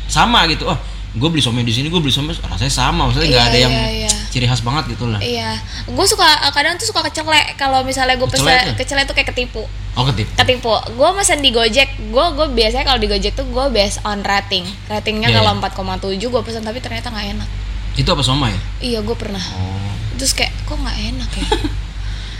[SPEAKER 1] sama gitu. Oh, gue beli somai di sini, gue beli somai rasanya sama. Maksudnya nggak
[SPEAKER 2] Iya,
[SPEAKER 1] ada yang
[SPEAKER 2] iya, iya.
[SPEAKER 1] ciri khas banget gitu lah.
[SPEAKER 2] Iya, gue suka kadang tuh suka kecelek kalau misalnya gue
[SPEAKER 1] Kecelek tuh?
[SPEAKER 2] pesen kecelek tuh kayak ketipu.
[SPEAKER 1] Oh, ketip.
[SPEAKER 2] Ketipu. Gue mesen di Gojek. Gue gue biasanya kalau di Gojek tuh gue based on rating. Ratingnya
[SPEAKER 1] Iya,
[SPEAKER 2] kalau 4,7 gue pesen tapi ternyata nggak enak.
[SPEAKER 1] Itu apa somai? ya?
[SPEAKER 2] Iya, gue pernah.
[SPEAKER 1] Oh.
[SPEAKER 2] Terus kayak kok nggak enak
[SPEAKER 1] <laughs>
[SPEAKER 2] ya?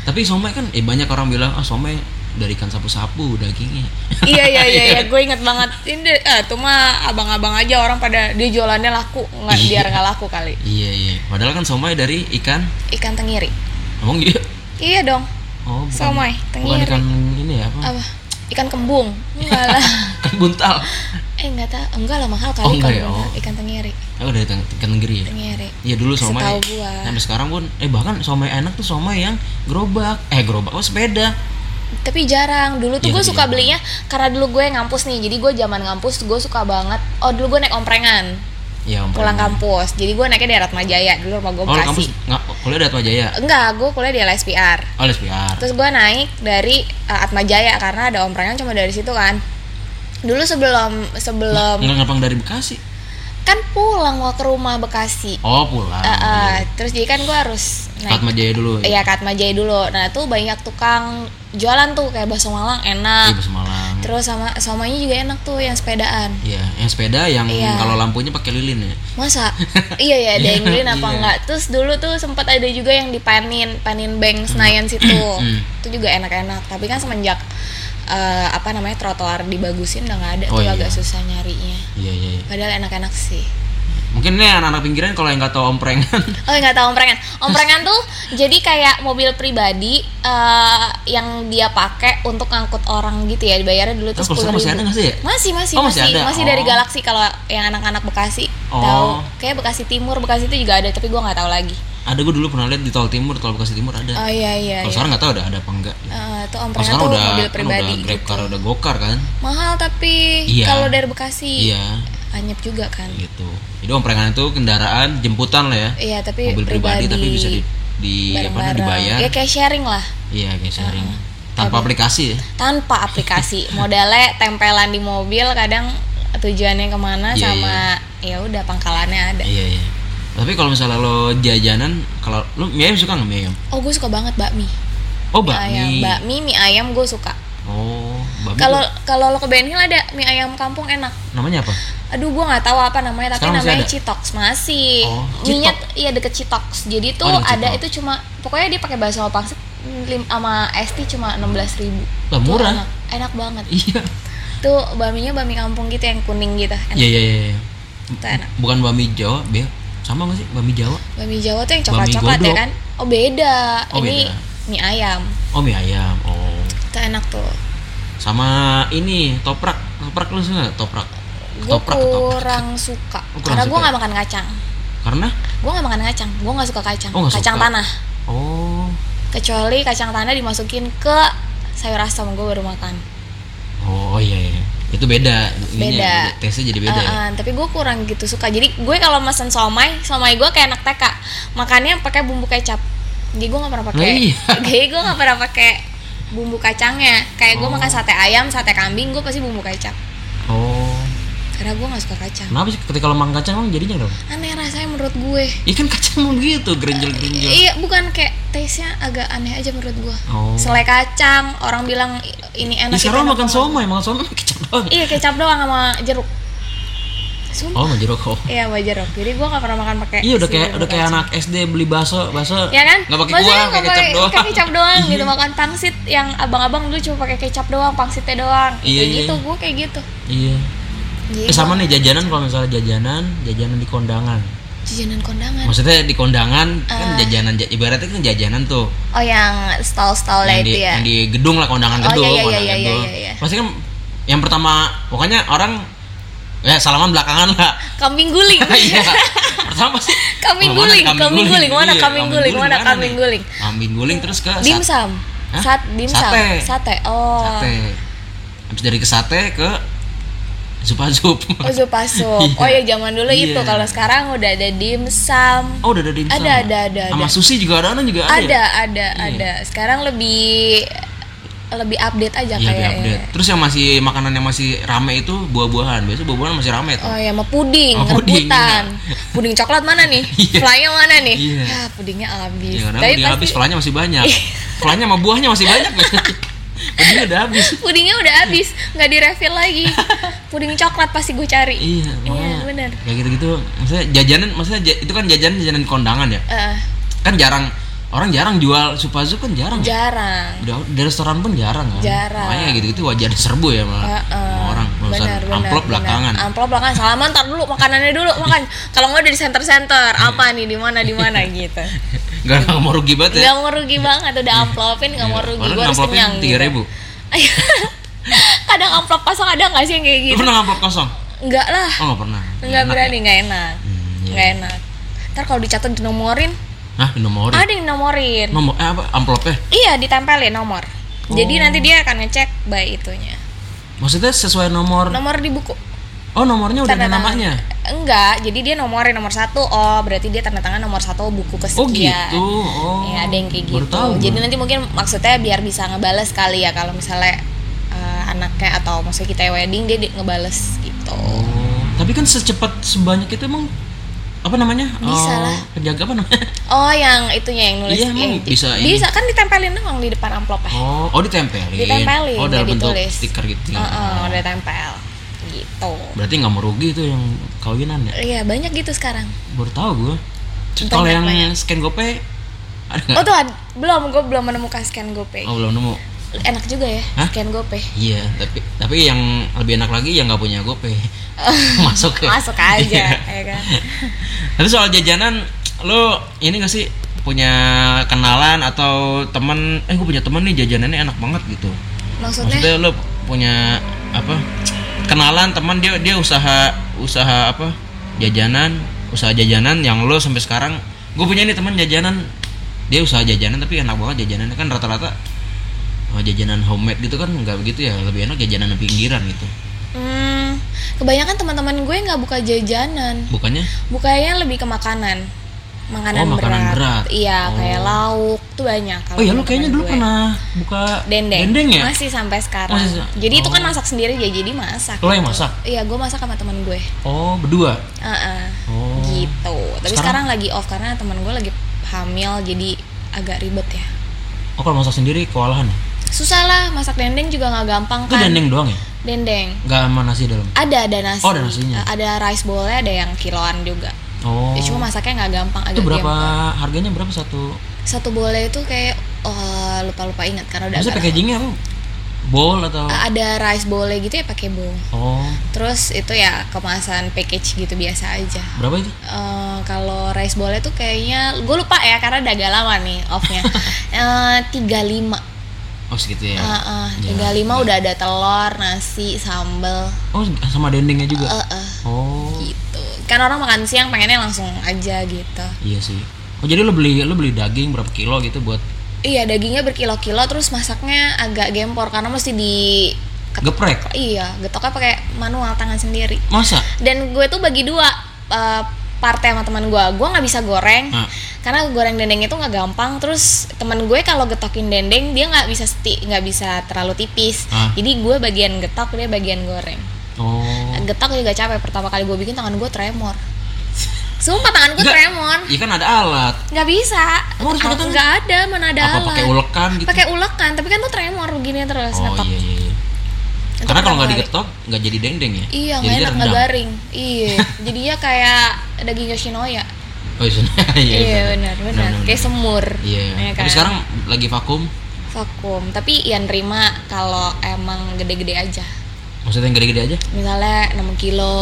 [SPEAKER 1] Tapi somai kan eh banyak orang bilang ah somai dari ikan sapu-sapu dagingnya.
[SPEAKER 2] iya iya iya, iya. gue inget banget ini eh, tuh mah abang-abang aja orang pada dia jualannya laku nggak
[SPEAKER 1] Iya.
[SPEAKER 2] biar nggak laku kali
[SPEAKER 1] iya, iya. Padahal kan somai dari ikan
[SPEAKER 2] ikan tenggiri
[SPEAKER 1] Emang gitu?
[SPEAKER 2] iya dong
[SPEAKER 1] Oh, bukan.
[SPEAKER 2] Somai,
[SPEAKER 1] Bukan
[SPEAKER 2] tenggiri. Oh.
[SPEAKER 1] ikan ini ya, apa?
[SPEAKER 2] apa ikan kembung enggak
[SPEAKER 1] <laughs>
[SPEAKER 2] lah
[SPEAKER 1] Ikan buntal.
[SPEAKER 2] eh enggak tak enggak lah mahal
[SPEAKER 1] Oh,
[SPEAKER 2] kali
[SPEAKER 1] enggak
[SPEAKER 2] ikan
[SPEAKER 1] ya,
[SPEAKER 2] buntal.
[SPEAKER 1] oh.
[SPEAKER 2] ikan tenggiri
[SPEAKER 1] Aku dari teng- ikan tenggiri ya.
[SPEAKER 2] tenggiri
[SPEAKER 1] Iya dulu somai.
[SPEAKER 2] Setahu gua.
[SPEAKER 1] Sampai sekarang pun eh bahkan somai enak tuh somai yang gerobak. Eh gerobak oh sepeda.
[SPEAKER 2] tapi jarang dulu
[SPEAKER 1] Iya,
[SPEAKER 2] tuh gue
[SPEAKER 1] tapi
[SPEAKER 2] suka
[SPEAKER 1] jarang.
[SPEAKER 2] belinya karena dulu gue ngampus nih jadi gue zaman ngampus gue suka banget oh dulu gue naik omprengan
[SPEAKER 1] Ya ampun.
[SPEAKER 2] pulang kampus jadi gue naiknya daerah Atmajaya dulu rumah gue
[SPEAKER 1] Oh, lu
[SPEAKER 2] bekasi
[SPEAKER 1] kampus nggak kuliah di Atmajaya.
[SPEAKER 2] enggak gue kuliah di LSPR
[SPEAKER 1] Oh, LSPR.
[SPEAKER 2] Terus gue naik dari uh, Atmajaya karena ada omprengan cuma dari situ kan. Dulu sebelum sebelum
[SPEAKER 1] Enggak ngapang dari Bekasi.
[SPEAKER 2] kan pulang mau ke rumah Bekasi.
[SPEAKER 1] Oh, pulang.
[SPEAKER 2] Eh, eh, terus jadi kan gue harus
[SPEAKER 1] Ke
[SPEAKER 2] naik
[SPEAKER 1] Atmajaya dulu.
[SPEAKER 2] Iya ke Atmajaya dulu. Nah tuh banyak tukang jualan tuh kayak bakso Malang
[SPEAKER 1] Iya,
[SPEAKER 2] enak.
[SPEAKER 1] semalam.
[SPEAKER 2] Terus sama somanya juga enak tuh yang sepedaan.
[SPEAKER 1] Iya, yang sepeda yang
[SPEAKER 2] Iya.
[SPEAKER 1] kalau lampunya pakai lilin ya. <laughs>
[SPEAKER 2] Masa? iya ya, ada yang beliin apa
[SPEAKER 1] Iya.
[SPEAKER 2] enggak? Terus dulu tuh sempat ada juga yang dipanin, panin bank Senayan situ.
[SPEAKER 1] Hmm.
[SPEAKER 2] itu juga enak-enak. Tapi kan semenjak eh, apa namanya trotoar dibagusin udah nggak ada
[SPEAKER 1] Oh,
[SPEAKER 2] tuh
[SPEAKER 1] iya.
[SPEAKER 2] agak susah nyarinya.
[SPEAKER 1] Iya, iya, iya.
[SPEAKER 2] Padahal enak-enak sih.
[SPEAKER 1] Mungkin nih anak-anak pinggiran kalau yang nggak tahu
[SPEAKER 2] <laughs>
[SPEAKER 1] omprengan
[SPEAKER 2] Oh nggak tahu omprengan. Omprengan tuh jadi kayak mobil pribadi eh, yang dia pakai untuk ngangkut orang gitu ya. Dibayarnya dulu tuh
[SPEAKER 1] Oh, kalau sekarang masih ada
[SPEAKER 2] ribu.
[SPEAKER 1] nggak sih ya?
[SPEAKER 2] Masih masih
[SPEAKER 1] Oh, masih
[SPEAKER 2] masih
[SPEAKER 1] ada.
[SPEAKER 2] masih dari
[SPEAKER 1] Oh.
[SPEAKER 2] Galaksi kalau yang anak-anak Bekasi
[SPEAKER 1] Oh.
[SPEAKER 2] tahu. Kayak Bekasi Timur, Bekasi itu juga ada tapi gua nggak tahu lagi.
[SPEAKER 1] ada gue dulu pernah lihat di tol timur tol bekasi timur ada
[SPEAKER 2] Oh iya
[SPEAKER 1] Ya. kalau
[SPEAKER 2] iya. iya.
[SPEAKER 1] sekarang nggak tahu ada ada apa enggak
[SPEAKER 2] Eh, tuh
[SPEAKER 1] kalau
[SPEAKER 2] omprengan
[SPEAKER 1] sekarang
[SPEAKER 2] tuh
[SPEAKER 1] udah
[SPEAKER 2] mobil
[SPEAKER 1] kan udah
[SPEAKER 2] pribadi
[SPEAKER 1] grab
[SPEAKER 2] gitu.
[SPEAKER 1] car udah gokar kan
[SPEAKER 2] Mahal tapi
[SPEAKER 1] Iya.
[SPEAKER 2] kalau dari Bekasi
[SPEAKER 1] iya
[SPEAKER 2] anyep juga kan.
[SPEAKER 1] gitu jadi omprengan itu kendaraan jemputan lah ya
[SPEAKER 2] Iya, tapi
[SPEAKER 1] mobil pribadi, tapi bisa di, di apa namanya
[SPEAKER 2] bareng-bareng.
[SPEAKER 1] dibayar
[SPEAKER 2] Ya kayak sharing lah
[SPEAKER 1] iya kayak sharing tanpa aplikasi ya
[SPEAKER 2] tanpa
[SPEAKER 1] <laughs>
[SPEAKER 2] aplikasi. Modalnya tempelan di mobil kadang tujuannya kemana
[SPEAKER 1] Iya,
[SPEAKER 2] sama ya udah pangkalannya ada.
[SPEAKER 1] iya iya tapi kalau misalnya lo jajanan kalau lo mie ayam suka nggak mie ayam
[SPEAKER 2] Oh, gue suka banget bakmi.
[SPEAKER 1] oh
[SPEAKER 2] Mie
[SPEAKER 1] bakmi
[SPEAKER 2] Ayam, bakmi, mie ayam gue suka.
[SPEAKER 1] oh Babi
[SPEAKER 2] Kalau
[SPEAKER 1] tuh
[SPEAKER 2] kalau lo ke Benhil ada mie ayam kampung enak.
[SPEAKER 1] namanya
[SPEAKER 2] <laughs>
[SPEAKER 1] apa?
[SPEAKER 2] Aduh, gua nggak tahu apa namanya, tapi
[SPEAKER 1] Sekarang masih
[SPEAKER 2] namanya
[SPEAKER 1] ada?
[SPEAKER 2] Citox masih.
[SPEAKER 1] Oh,
[SPEAKER 2] Minyak
[SPEAKER 1] Citox.
[SPEAKER 2] iya deket Citox. Jadi tuh
[SPEAKER 1] Oh, deket
[SPEAKER 2] ada
[SPEAKER 1] Citox.
[SPEAKER 2] itu cuma pokoknya dia pakai bakso pangsit lim- sama ST cuma 16.000 ribu
[SPEAKER 1] Lah, murah.
[SPEAKER 2] enak, enak banget
[SPEAKER 1] Iya.
[SPEAKER 2] tuh baminya bami kampung gitu yang kuning gitu enak
[SPEAKER 1] Iya iya iya. iya.
[SPEAKER 2] tuh enak
[SPEAKER 1] Bukan bami Jawa, Bea. Sama gak sih bami Jawa?
[SPEAKER 2] bami jawa tuh yang coklat coklat
[SPEAKER 1] Bami
[SPEAKER 2] ya
[SPEAKER 1] godok.
[SPEAKER 2] kan oh beda
[SPEAKER 1] Oh,
[SPEAKER 2] ini
[SPEAKER 1] beda.
[SPEAKER 2] mie ayam
[SPEAKER 1] Oh mie ayam. Oh.
[SPEAKER 2] tuh enak tuh
[SPEAKER 1] Sama ini toprak. Toprak lu suka nggak? Toprak.
[SPEAKER 2] gue
[SPEAKER 1] Toprak ketoprak.
[SPEAKER 2] kurang suka
[SPEAKER 1] Oh, kurang
[SPEAKER 2] karena gue
[SPEAKER 1] suka.
[SPEAKER 2] nggak makan kacang
[SPEAKER 1] Karena?
[SPEAKER 2] gue nggak makan kacang gue nggak suka kacang
[SPEAKER 1] Oh, nggak
[SPEAKER 2] kacang
[SPEAKER 1] suka.
[SPEAKER 2] tanah
[SPEAKER 1] Oh.
[SPEAKER 2] kecuali kacang tanah dimasukin ke sayur asam gue baru makan
[SPEAKER 1] Oh, oh iya iya. Itu beda.
[SPEAKER 2] Beda.
[SPEAKER 1] Ininya, Tesnya jadi beda. ya?
[SPEAKER 2] Eh, eh, tapi gue kurang gitu suka jadi gue kalau mesen somai somai gue kayak anak TK makannya pakai bumbu kecap jadi gue nggak pernah pakai
[SPEAKER 1] Lah, iya.
[SPEAKER 2] <laughs> jadi gue nggak pernah pakai bumbu kacangnya kayak gue
[SPEAKER 1] Oh.
[SPEAKER 2] makan sate ayam sate kambing gue pasti bumbu kecap
[SPEAKER 1] Oh.
[SPEAKER 2] karena gue nggak suka kacang
[SPEAKER 1] Kenapa sih ketika lo makan kacang emang jadinya dong?
[SPEAKER 2] aneh rasanya menurut gue
[SPEAKER 1] Ya kan kacang mau gitu, gerenjel-gerenjel.
[SPEAKER 2] iya bukan kayak taste nya agak aneh aja menurut gue
[SPEAKER 1] Oh.
[SPEAKER 2] selai kacang orang bilang "I- ini
[SPEAKER 1] Ya
[SPEAKER 2] enak itu
[SPEAKER 1] sekarang lo
[SPEAKER 2] enak."
[SPEAKER 1] makan somai, makan somai pakai kecap doang.
[SPEAKER 2] iya kecap doang sama jeruk
[SPEAKER 1] Oh,
[SPEAKER 2] Sumpah.
[SPEAKER 1] menjeruk kok.
[SPEAKER 2] Iya sama jeruk. Jadi gue gak pernah makan pakai.
[SPEAKER 1] Iya udah
[SPEAKER 2] si
[SPEAKER 1] kayak
[SPEAKER 2] bumbu
[SPEAKER 1] udah kayak
[SPEAKER 2] kacang.
[SPEAKER 1] anak SD beli bakso, bakso.
[SPEAKER 2] Ya kan?
[SPEAKER 1] Enggak pakai
[SPEAKER 2] Maksudnya
[SPEAKER 1] kuah, pakai
[SPEAKER 2] nggak
[SPEAKER 1] kecap
[SPEAKER 2] pakai-
[SPEAKER 1] doang.
[SPEAKER 2] pakai kecap doang
[SPEAKER 1] Iya.
[SPEAKER 2] gitu makan pangsit yang abang-abang dulu cuma pakai kecap doang, pangsitnya doang.
[SPEAKER 1] Iya,
[SPEAKER 2] kayak
[SPEAKER 1] iya.
[SPEAKER 2] gitu, gue kayak gitu.
[SPEAKER 1] Iya.
[SPEAKER 2] Jadi
[SPEAKER 1] Eh, sama nih jajanan kalau misalnya jajanan, jajanan di kondangan.
[SPEAKER 2] jajanan kondangan.
[SPEAKER 1] Maksudnya di kondangan kan
[SPEAKER 2] Ah.
[SPEAKER 1] jajanan ja- ibaratnya kan jajanan tuh.
[SPEAKER 2] Oh yang stall-stall
[SPEAKER 1] yang, di,
[SPEAKER 2] itu ya.
[SPEAKER 1] yang di gedung lah kondangan
[SPEAKER 2] Oh,
[SPEAKER 1] gedung,
[SPEAKER 2] iya, iya,
[SPEAKER 1] kondangan
[SPEAKER 2] iya, iya,
[SPEAKER 1] gedung.
[SPEAKER 2] iya, iya.
[SPEAKER 1] Pasti kan yang pertama pokoknya orang ya salaman belakangan
[SPEAKER 2] <laughs>
[SPEAKER 1] lah.
[SPEAKER 2] Kambing guling.
[SPEAKER 1] <laughs> Iya.
[SPEAKER 2] <laughs>
[SPEAKER 1] pertama sih
[SPEAKER 2] Kambing
[SPEAKER 1] "Wah, mana
[SPEAKER 2] guling, kambing guling, mana
[SPEAKER 1] Iya,
[SPEAKER 2] kambing guling, mana
[SPEAKER 1] mana
[SPEAKER 2] kambing
[SPEAKER 1] nih?"
[SPEAKER 2] guling.
[SPEAKER 1] Kambing guling terus ke sat-
[SPEAKER 2] dimsum.
[SPEAKER 1] Hah?
[SPEAKER 2] Sat dimsum.
[SPEAKER 1] Sate.
[SPEAKER 2] Sate. Oh.
[SPEAKER 1] sate. Habis dari ke sate ke sup-sup.
[SPEAKER 2] Oh zupa sup.
[SPEAKER 1] <laughs> Iya.
[SPEAKER 2] Oh ya zaman dulu
[SPEAKER 1] Iya.
[SPEAKER 2] itu kalau sekarang udah ada dimsum.
[SPEAKER 1] Oh, udah ada dimsum.
[SPEAKER 2] Ada, ada, ada,
[SPEAKER 1] Sama
[SPEAKER 2] ada.
[SPEAKER 1] sushi juga ada, ada juga ada.
[SPEAKER 2] ada
[SPEAKER 1] ya?
[SPEAKER 2] ada ada sekarang lebih lebih update aja
[SPEAKER 1] Iya, di
[SPEAKER 2] kayaknya
[SPEAKER 1] update. Terus yang masih makanan yang masih rame itu buah-buahan. Biasanya buah-buahan masih rame tuh.
[SPEAKER 2] Oh ya, sama puding,
[SPEAKER 1] Sama puding,
[SPEAKER 2] rebutan. Puding coklat mana nih?
[SPEAKER 1] <laughs> Iya.
[SPEAKER 2] Flynya mana nih?
[SPEAKER 1] Iya.
[SPEAKER 2] Ya, pudingnya habis.
[SPEAKER 1] Iya, karena
[SPEAKER 2] Tapi
[SPEAKER 1] dia
[SPEAKER 2] pasti Iya.
[SPEAKER 1] habis kolanya masih banyak. kolanya sama buahnya masih
[SPEAKER 2] <laughs>
[SPEAKER 1] banyak. Jadi udah habis.
[SPEAKER 2] pudingnya udah habis, nggak direfill
[SPEAKER 1] <laughs>
[SPEAKER 2] lagi. puding coklat pasti gue cari.
[SPEAKER 1] Iya, makanya.
[SPEAKER 2] bener.
[SPEAKER 1] Kayak gitu-gitu. Maksudnya jajanan, maksudnya ja- itu kan jajanan jajanan kondangan ya.
[SPEAKER 2] Eh,
[SPEAKER 1] Kan jarang orang jarang jual supazu kan jarang. ya?
[SPEAKER 2] jarang.
[SPEAKER 1] Udah, di restoran pun jarang kan.
[SPEAKER 2] Jarang.
[SPEAKER 1] Makanya gitu-gitu wajar diserbu ya malah. <laughs>
[SPEAKER 2] Eh, eh.
[SPEAKER 1] sama orang urusan
[SPEAKER 2] Benar, benar,
[SPEAKER 1] amplop
[SPEAKER 2] benar.
[SPEAKER 1] belakangan.
[SPEAKER 2] Amplop belakangan. Salaman ntar dulu makanannya dulu makan. Kalau nggak udah di center-center,
[SPEAKER 1] Iya.
[SPEAKER 2] apa nih di mana di mana
[SPEAKER 1] <laughs>
[SPEAKER 2] gitu.
[SPEAKER 1] Gak, gak mau rugi banget ya.
[SPEAKER 2] Gak mau rugi banget udah amplopin gak mau rugi
[SPEAKER 1] Iya. Orang
[SPEAKER 2] gue harus
[SPEAKER 1] amplopin
[SPEAKER 2] kenyang.
[SPEAKER 1] tiga ribu.
[SPEAKER 2] gitu.
[SPEAKER 1] <laughs>
[SPEAKER 2] kadang amplop kosong ada nggak sih yang kayak
[SPEAKER 1] Lu
[SPEAKER 2] gitu?
[SPEAKER 1] pernah amplop kosong?
[SPEAKER 2] Enggak lah,
[SPEAKER 1] Oh nggak pernah.
[SPEAKER 2] nggak
[SPEAKER 1] Enak
[SPEAKER 2] berani,
[SPEAKER 1] ya?
[SPEAKER 2] nggak enak,
[SPEAKER 1] Hmm, iya.
[SPEAKER 2] nggak enak. Ntar kalau dicatat dinomorin,
[SPEAKER 1] Hah dinomorin?
[SPEAKER 2] ada yang nomorin.
[SPEAKER 1] Nomor eh apa amplopnya?
[SPEAKER 2] Iya ditempelin nomor.
[SPEAKER 1] Oh.
[SPEAKER 2] Jadi nanti dia akan ngecek by itunya.
[SPEAKER 1] Maksudnya sesuai nomor?
[SPEAKER 2] Nomor di buku.
[SPEAKER 1] Oh nomornya udah ada
[SPEAKER 2] Tanda tangan.
[SPEAKER 1] namanya?
[SPEAKER 2] Enggak, jadi dia nomorin nomor satu. Oh, berarti dia tanda tangan nomor satu buku kesekian.
[SPEAKER 1] Oh gitu. Oh.
[SPEAKER 2] Ya, ada yang kayak gitu.
[SPEAKER 1] Baru tahu
[SPEAKER 2] Jadi
[SPEAKER 1] gua.
[SPEAKER 2] nanti mungkin maksudnya biar bisa ngebales kali ya kalau misalnya eh, anaknya atau maksudnya kita wedding dia di- ngebales gitu.
[SPEAKER 1] Oh. Tapi kan secepat sebanyak itu emang apa namanya?
[SPEAKER 2] Bisa
[SPEAKER 1] Eh,
[SPEAKER 2] lah.
[SPEAKER 1] Penjaga apa
[SPEAKER 2] <laughs>
[SPEAKER 1] namanya?
[SPEAKER 2] Oh, yang itunya yang nulis.
[SPEAKER 1] Iya, emang
[SPEAKER 2] di-
[SPEAKER 1] bisa ini?
[SPEAKER 2] Bisa kan ditempelin doang di depan ya? amplopnya.
[SPEAKER 1] Oh, oh ditempelin.
[SPEAKER 2] Ditempelin,
[SPEAKER 1] Oh dalam
[SPEAKER 2] nggak
[SPEAKER 1] bentuk
[SPEAKER 2] ditulis.
[SPEAKER 1] stiker gitu.
[SPEAKER 2] Heeh, udah tempel. Gitu.
[SPEAKER 1] Berarti nggak merugi itu yang kawinan ya?
[SPEAKER 2] Iya, banyak gitu sekarang.
[SPEAKER 1] Baru tahu gue. Kalau yang
[SPEAKER 2] Banyak-banyak.
[SPEAKER 1] scan GoPay ada nggak?
[SPEAKER 2] Oh tuh ad- belum, gue belum menemukan scan GoPay.
[SPEAKER 1] Iya. Oh, belum nemu.
[SPEAKER 2] Enak juga ya,
[SPEAKER 1] Hah?
[SPEAKER 2] scan GoPay.
[SPEAKER 1] Iya, tapi tapi yang lebih enak lagi yang nggak punya
[SPEAKER 2] <laughs>
[SPEAKER 1] GoPay. Masuk ya.
[SPEAKER 2] Masuk aja,
[SPEAKER 1] Iya.
[SPEAKER 2] ya kan.
[SPEAKER 1] Tapi soal jajanan, lo ini gak sih punya kenalan atau temen? Eh, gue punya temen nih jajanannya enak banget gitu.
[SPEAKER 2] Maksudnya
[SPEAKER 1] Maksudnya lo punya apa? Kenalan teman dia dia usaha usaha apa? Jajanan, usaha jajanan yang lo sampai sekarang. Gue punya nih teman jajanan, dia usaha jajanan tapi enak banget jajanannya kan rata-rata oh, jajanan homemade gitu kan nggak begitu ya lebih enak jajanan pinggiran gitu
[SPEAKER 2] Hmm, kebanyakan teman-teman gue nggak buka jajanan,
[SPEAKER 1] bukannya
[SPEAKER 2] bukanya lebih ke makanan, makanan,
[SPEAKER 1] Oh, makanan berat.
[SPEAKER 2] Iya,
[SPEAKER 1] Oh.
[SPEAKER 2] kayak lauk tuh banyak. kalau
[SPEAKER 1] oh ya lo
[SPEAKER 2] teman-teman
[SPEAKER 1] kayaknya dulu
[SPEAKER 2] gue.
[SPEAKER 1] pernah buka
[SPEAKER 2] dendeng,
[SPEAKER 1] ya
[SPEAKER 2] masih sampai sekarang.
[SPEAKER 1] Masih sa-
[SPEAKER 2] jadi itu kan
[SPEAKER 1] Oh.
[SPEAKER 2] masak sendiri ya, jadi masak.
[SPEAKER 1] Lo yang
[SPEAKER 2] gitu.
[SPEAKER 1] masak?
[SPEAKER 2] Iya, gue masak sama teman gue.
[SPEAKER 1] Oh, berdua.
[SPEAKER 2] Heeh.
[SPEAKER 1] Oh.
[SPEAKER 2] Gitu. Tapi
[SPEAKER 1] Sekarang?
[SPEAKER 2] sekarang, lagi off karena teman gue lagi hamil, jadi agak ribet ya.
[SPEAKER 1] Oh, kalau masak sendiri kewalahan. ya?
[SPEAKER 2] susah lah masak dendeng juga nggak gampang
[SPEAKER 1] Itu
[SPEAKER 2] kan
[SPEAKER 1] dendeng doang ya?
[SPEAKER 2] dendeng
[SPEAKER 1] Nggak sama nasi dalam?
[SPEAKER 2] ada ada nasi
[SPEAKER 1] Oh, ada nasinya.
[SPEAKER 2] Eh, ada rice bowl-nya ada yang kiloan juga
[SPEAKER 1] Oh.
[SPEAKER 2] ya, cuma masaknya nggak gampang agak
[SPEAKER 1] itu berapa
[SPEAKER 2] diam.
[SPEAKER 1] harganya berapa satu?
[SPEAKER 2] satu bowl-nya itu kayak oh, lupa lupa ingat karena udah
[SPEAKER 1] Maksudnya
[SPEAKER 2] agak
[SPEAKER 1] packagingnya apa? Bowl atau?
[SPEAKER 2] lama. Eh, ada rice bowl-nya gitu ya pakai bowl
[SPEAKER 1] Oh,
[SPEAKER 2] terus itu ya kemasan package gitu biasa aja
[SPEAKER 1] berapa itu?
[SPEAKER 2] Eh, kalau rice bowl itu kayaknya gue lupa ya karena udah agak lama nih offnya
[SPEAKER 1] <laughs>
[SPEAKER 2] Eh, tiga lima Eh,
[SPEAKER 1] Oh segitu ya.
[SPEAKER 2] Ah. tiga lima udah ada telur nasi sambel
[SPEAKER 1] Oh sama dendengnya juga.
[SPEAKER 2] Eh, eh,
[SPEAKER 1] oh
[SPEAKER 2] gitu kan orang makan siang pengennya langsung aja gitu
[SPEAKER 1] iya sih. Oh jadi lo beli lo beli daging berapa kilo gitu buat
[SPEAKER 2] iya dagingnya berkilo-kilo terus masaknya agak gempor karena mesti di
[SPEAKER 1] geprek?
[SPEAKER 2] iya getoknya pakai manual tangan sendiri
[SPEAKER 1] Masa?
[SPEAKER 2] dan gue tuh bagi dua eh, partai sama teman gue gue nggak bisa goreng
[SPEAKER 1] Nah.
[SPEAKER 2] karena goreng dendeng itu nggak gampang terus teman gue kalau getokin dendeng dia nggak bisa seti nggak bisa terlalu tipis
[SPEAKER 1] Ah.
[SPEAKER 2] jadi gue bagian getok dia bagian goreng
[SPEAKER 1] Oh.
[SPEAKER 2] getok juga capek pertama kali gue bikin tangan gue
[SPEAKER 1] <laughs>
[SPEAKER 2] tremor sumpah tangan gue
[SPEAKER 1] Nggak.
[SPEAKER 2] tremor
[SPEAKER 1] Iya kan ada alat.
[SPEAKER 2] nggak bisa
[SPEAKER 1] Emang harus pakai
[SPEAKER 2] Al-
[SPEAKER 1] tangan?
[SPEAKER 2] nggak ada mana ada
[SPEAKER 1] apa
[SPEAKER 2] alat
[SPEAKER 1] pakai ulekan gitu?
[SPEAKER 2] pakai ulekan tapi kan tuh tremor begini terus
[SPEAKER 1] oh
[SPEAKER 2] ngetok
[SPEAKER 1] iya iya. iya.
[SPEAKER 2] Itu
[SPEAKER 1] Karena kalau
[SPEAKER 2] pertama
[SPEAKER 1] nggak
[SPEAKER 2] kali.
[SPEAKER 1] digetok nggak jadi dendeng ya.
[SPEAKER 2] iya
[SPEAKER 1] Jadi
[SPEAKER 2] nggak
[SPEAKER 1] dia
[SPEAKER 2] enak nggak
[SPEAKER 1] rendang.
[SPEAKER 2] garing
[SPEAKER 1] <laughs>
[SPEAKER 2] iya jadinya kayak daging yoshinoya
[SPEAKER 1] Oh iya, iya,
[SPEAKER 2] iya benar benar kayak semur
[SPEAKER 1] Iya.
[SPEAKER 2] ya
[SPEAKER 1] Tapi
[SPEAKER 2] kan?
[SPEAKER 1] sekarang lagi vakum.
[SPEAKER 2] vakum tapi ya nerima kalau emang gede-gede aja
[SPEAKER 1] Maksudnya yang gede-gede aja?
[SPEAKER 2] misalnya 6 kilo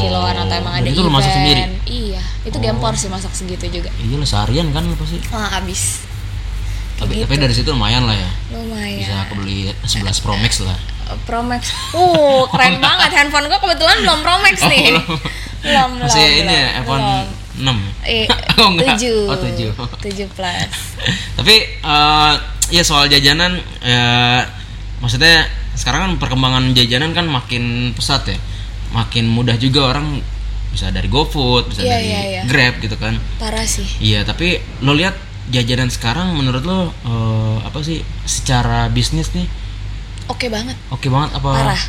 [SPEAKER 2] kiloan atau emang
[SPEAKER 1] dan
[SPEAKER 2] ada
[SPEAKER 1] Oh, itu lu masak sendiri? Oh.
[SPEAKER 2] iya itu gempor sih masak segitu juga
[SPEAKER 1] Iya lah seharian kan lo pasti.
[SPEAKER 2] ah habis Gitu.
[SPEAKER 1] Tapi, tapi dari situ lumayan lah ya. Bisa
[SPEAKER 2] lumayan Eh,
[SPEAKER 1] aku beli 11 Pro Max lah.
[SPEAKER 2] Promax uh keren banget handphone gua kebetulan belum Promax nih
[SPEAKER 1] Oh, belum.
[SPEAKER 2] belum belum
[SPEAKER 1] Masih ini
[SPEAKER 2] belum,
[SPEAKER 1] ya, iPhone
[SPEAKER 2] belum.
[SPEAKER 1] 6.
[SPEAKER 2] eh,
[SPEAKER 1] <laughs> Oh, enggak.
[SPEAKER 2] tujuh
[SPEAKER 1] Oh, tujuh.
[SPEAKER 2] tujuh plus
[SPEAKER 1] Tapi eh, ya soal jajanan eh, maksudnya sekarang kan perkembangan jajanan kan makin pesat ya. Makin mudah juga orang bisa dari GoFood, bisa
[SPEAKER 2] Iya,
[SPEAKER 1] dari
[SPEAKER 2] iya, iya.
[SPEAKER 1] Grab gitu kan.
[SPEAKER 2] parah sih
[SPEAKER 1] Iya, tapi lo lihat jajanan sekarang menurut lo eh, apa sih secara bisnis nih
[SPEAKER 2] oke banget
[SPEAKER 1] oke banget apa
[SPEAKER 2] parah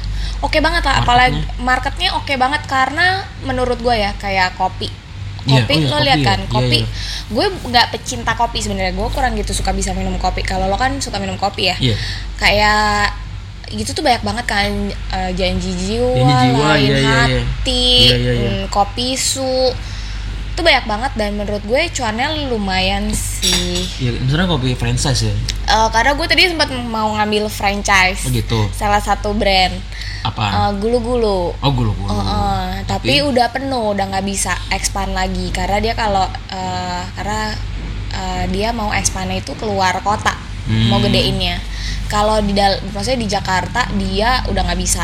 [SPEAKER 2] oke banget lah apalagi marketnya oke banget karena menurut gue ya kayak kopi
[SPEAKER 1] Iya, oh
[SPEAKER 2] kopi
[SPEAKER 1] iya,
[SPEAKER 2] lo
[SPEAKER 1] kopi
[SPEAKER 2] lihat
[SPEAKER 1] ya.
[SPEAKER 2] kan
[SPEAKER 1] Iya,
[SPEAKER 2] kopi
[SPEAKER 1] iya.
[SPEAKER 2] gue nggak pecinta kopi sebenarnya gue kurang gitu suka bisa minum kopi kalau lo kan suka minum kopi ya
[SPEAKER 1] Iya.
[SPEAKER 2] kayak gitu tuh banyak banget kan eh, janji jiwa,
[SPEAKER 1] Janji jiwa,
[SPEAKER 2] lain
[SPEAKER 1] iya, iya, iya.
[SPEAKER 2] hati
[SPEAKER 1] Iya, iya, iya.
[SPEAKER 2] mm, kopi su itu banyak banget dan menurut gue cuannya lumayan sih
[SPEAKER 1] Iya, misalnya kopi franchise ya.
[SPEAKER 2] Eh, karena gue tadi sempat mau ngambil franchise
[SPEAKER 1] Oh gitu.
[SPEAKER 2] salah satu brand
[SPEAKER 1] Apa?
[SPEAKER 2] Eh, gulu-gulu
[SPEAKER 1] oh, gulu-gulu.
[SPEAKER 2] Heeh, tapi,
[SPEAKER 1] Tapi-
[SPEAKER 2] udah penuh, udah nggak bisa expand lagi karena dia kalau eh, karena eh, dia mau expandnya itu keluar kota,
[SPEAKER 1] Hmm.
[SPEAKER 2] mau gedeinnya. Kalau di dal- maksudnya di Jakarta dia udah nggak bisa.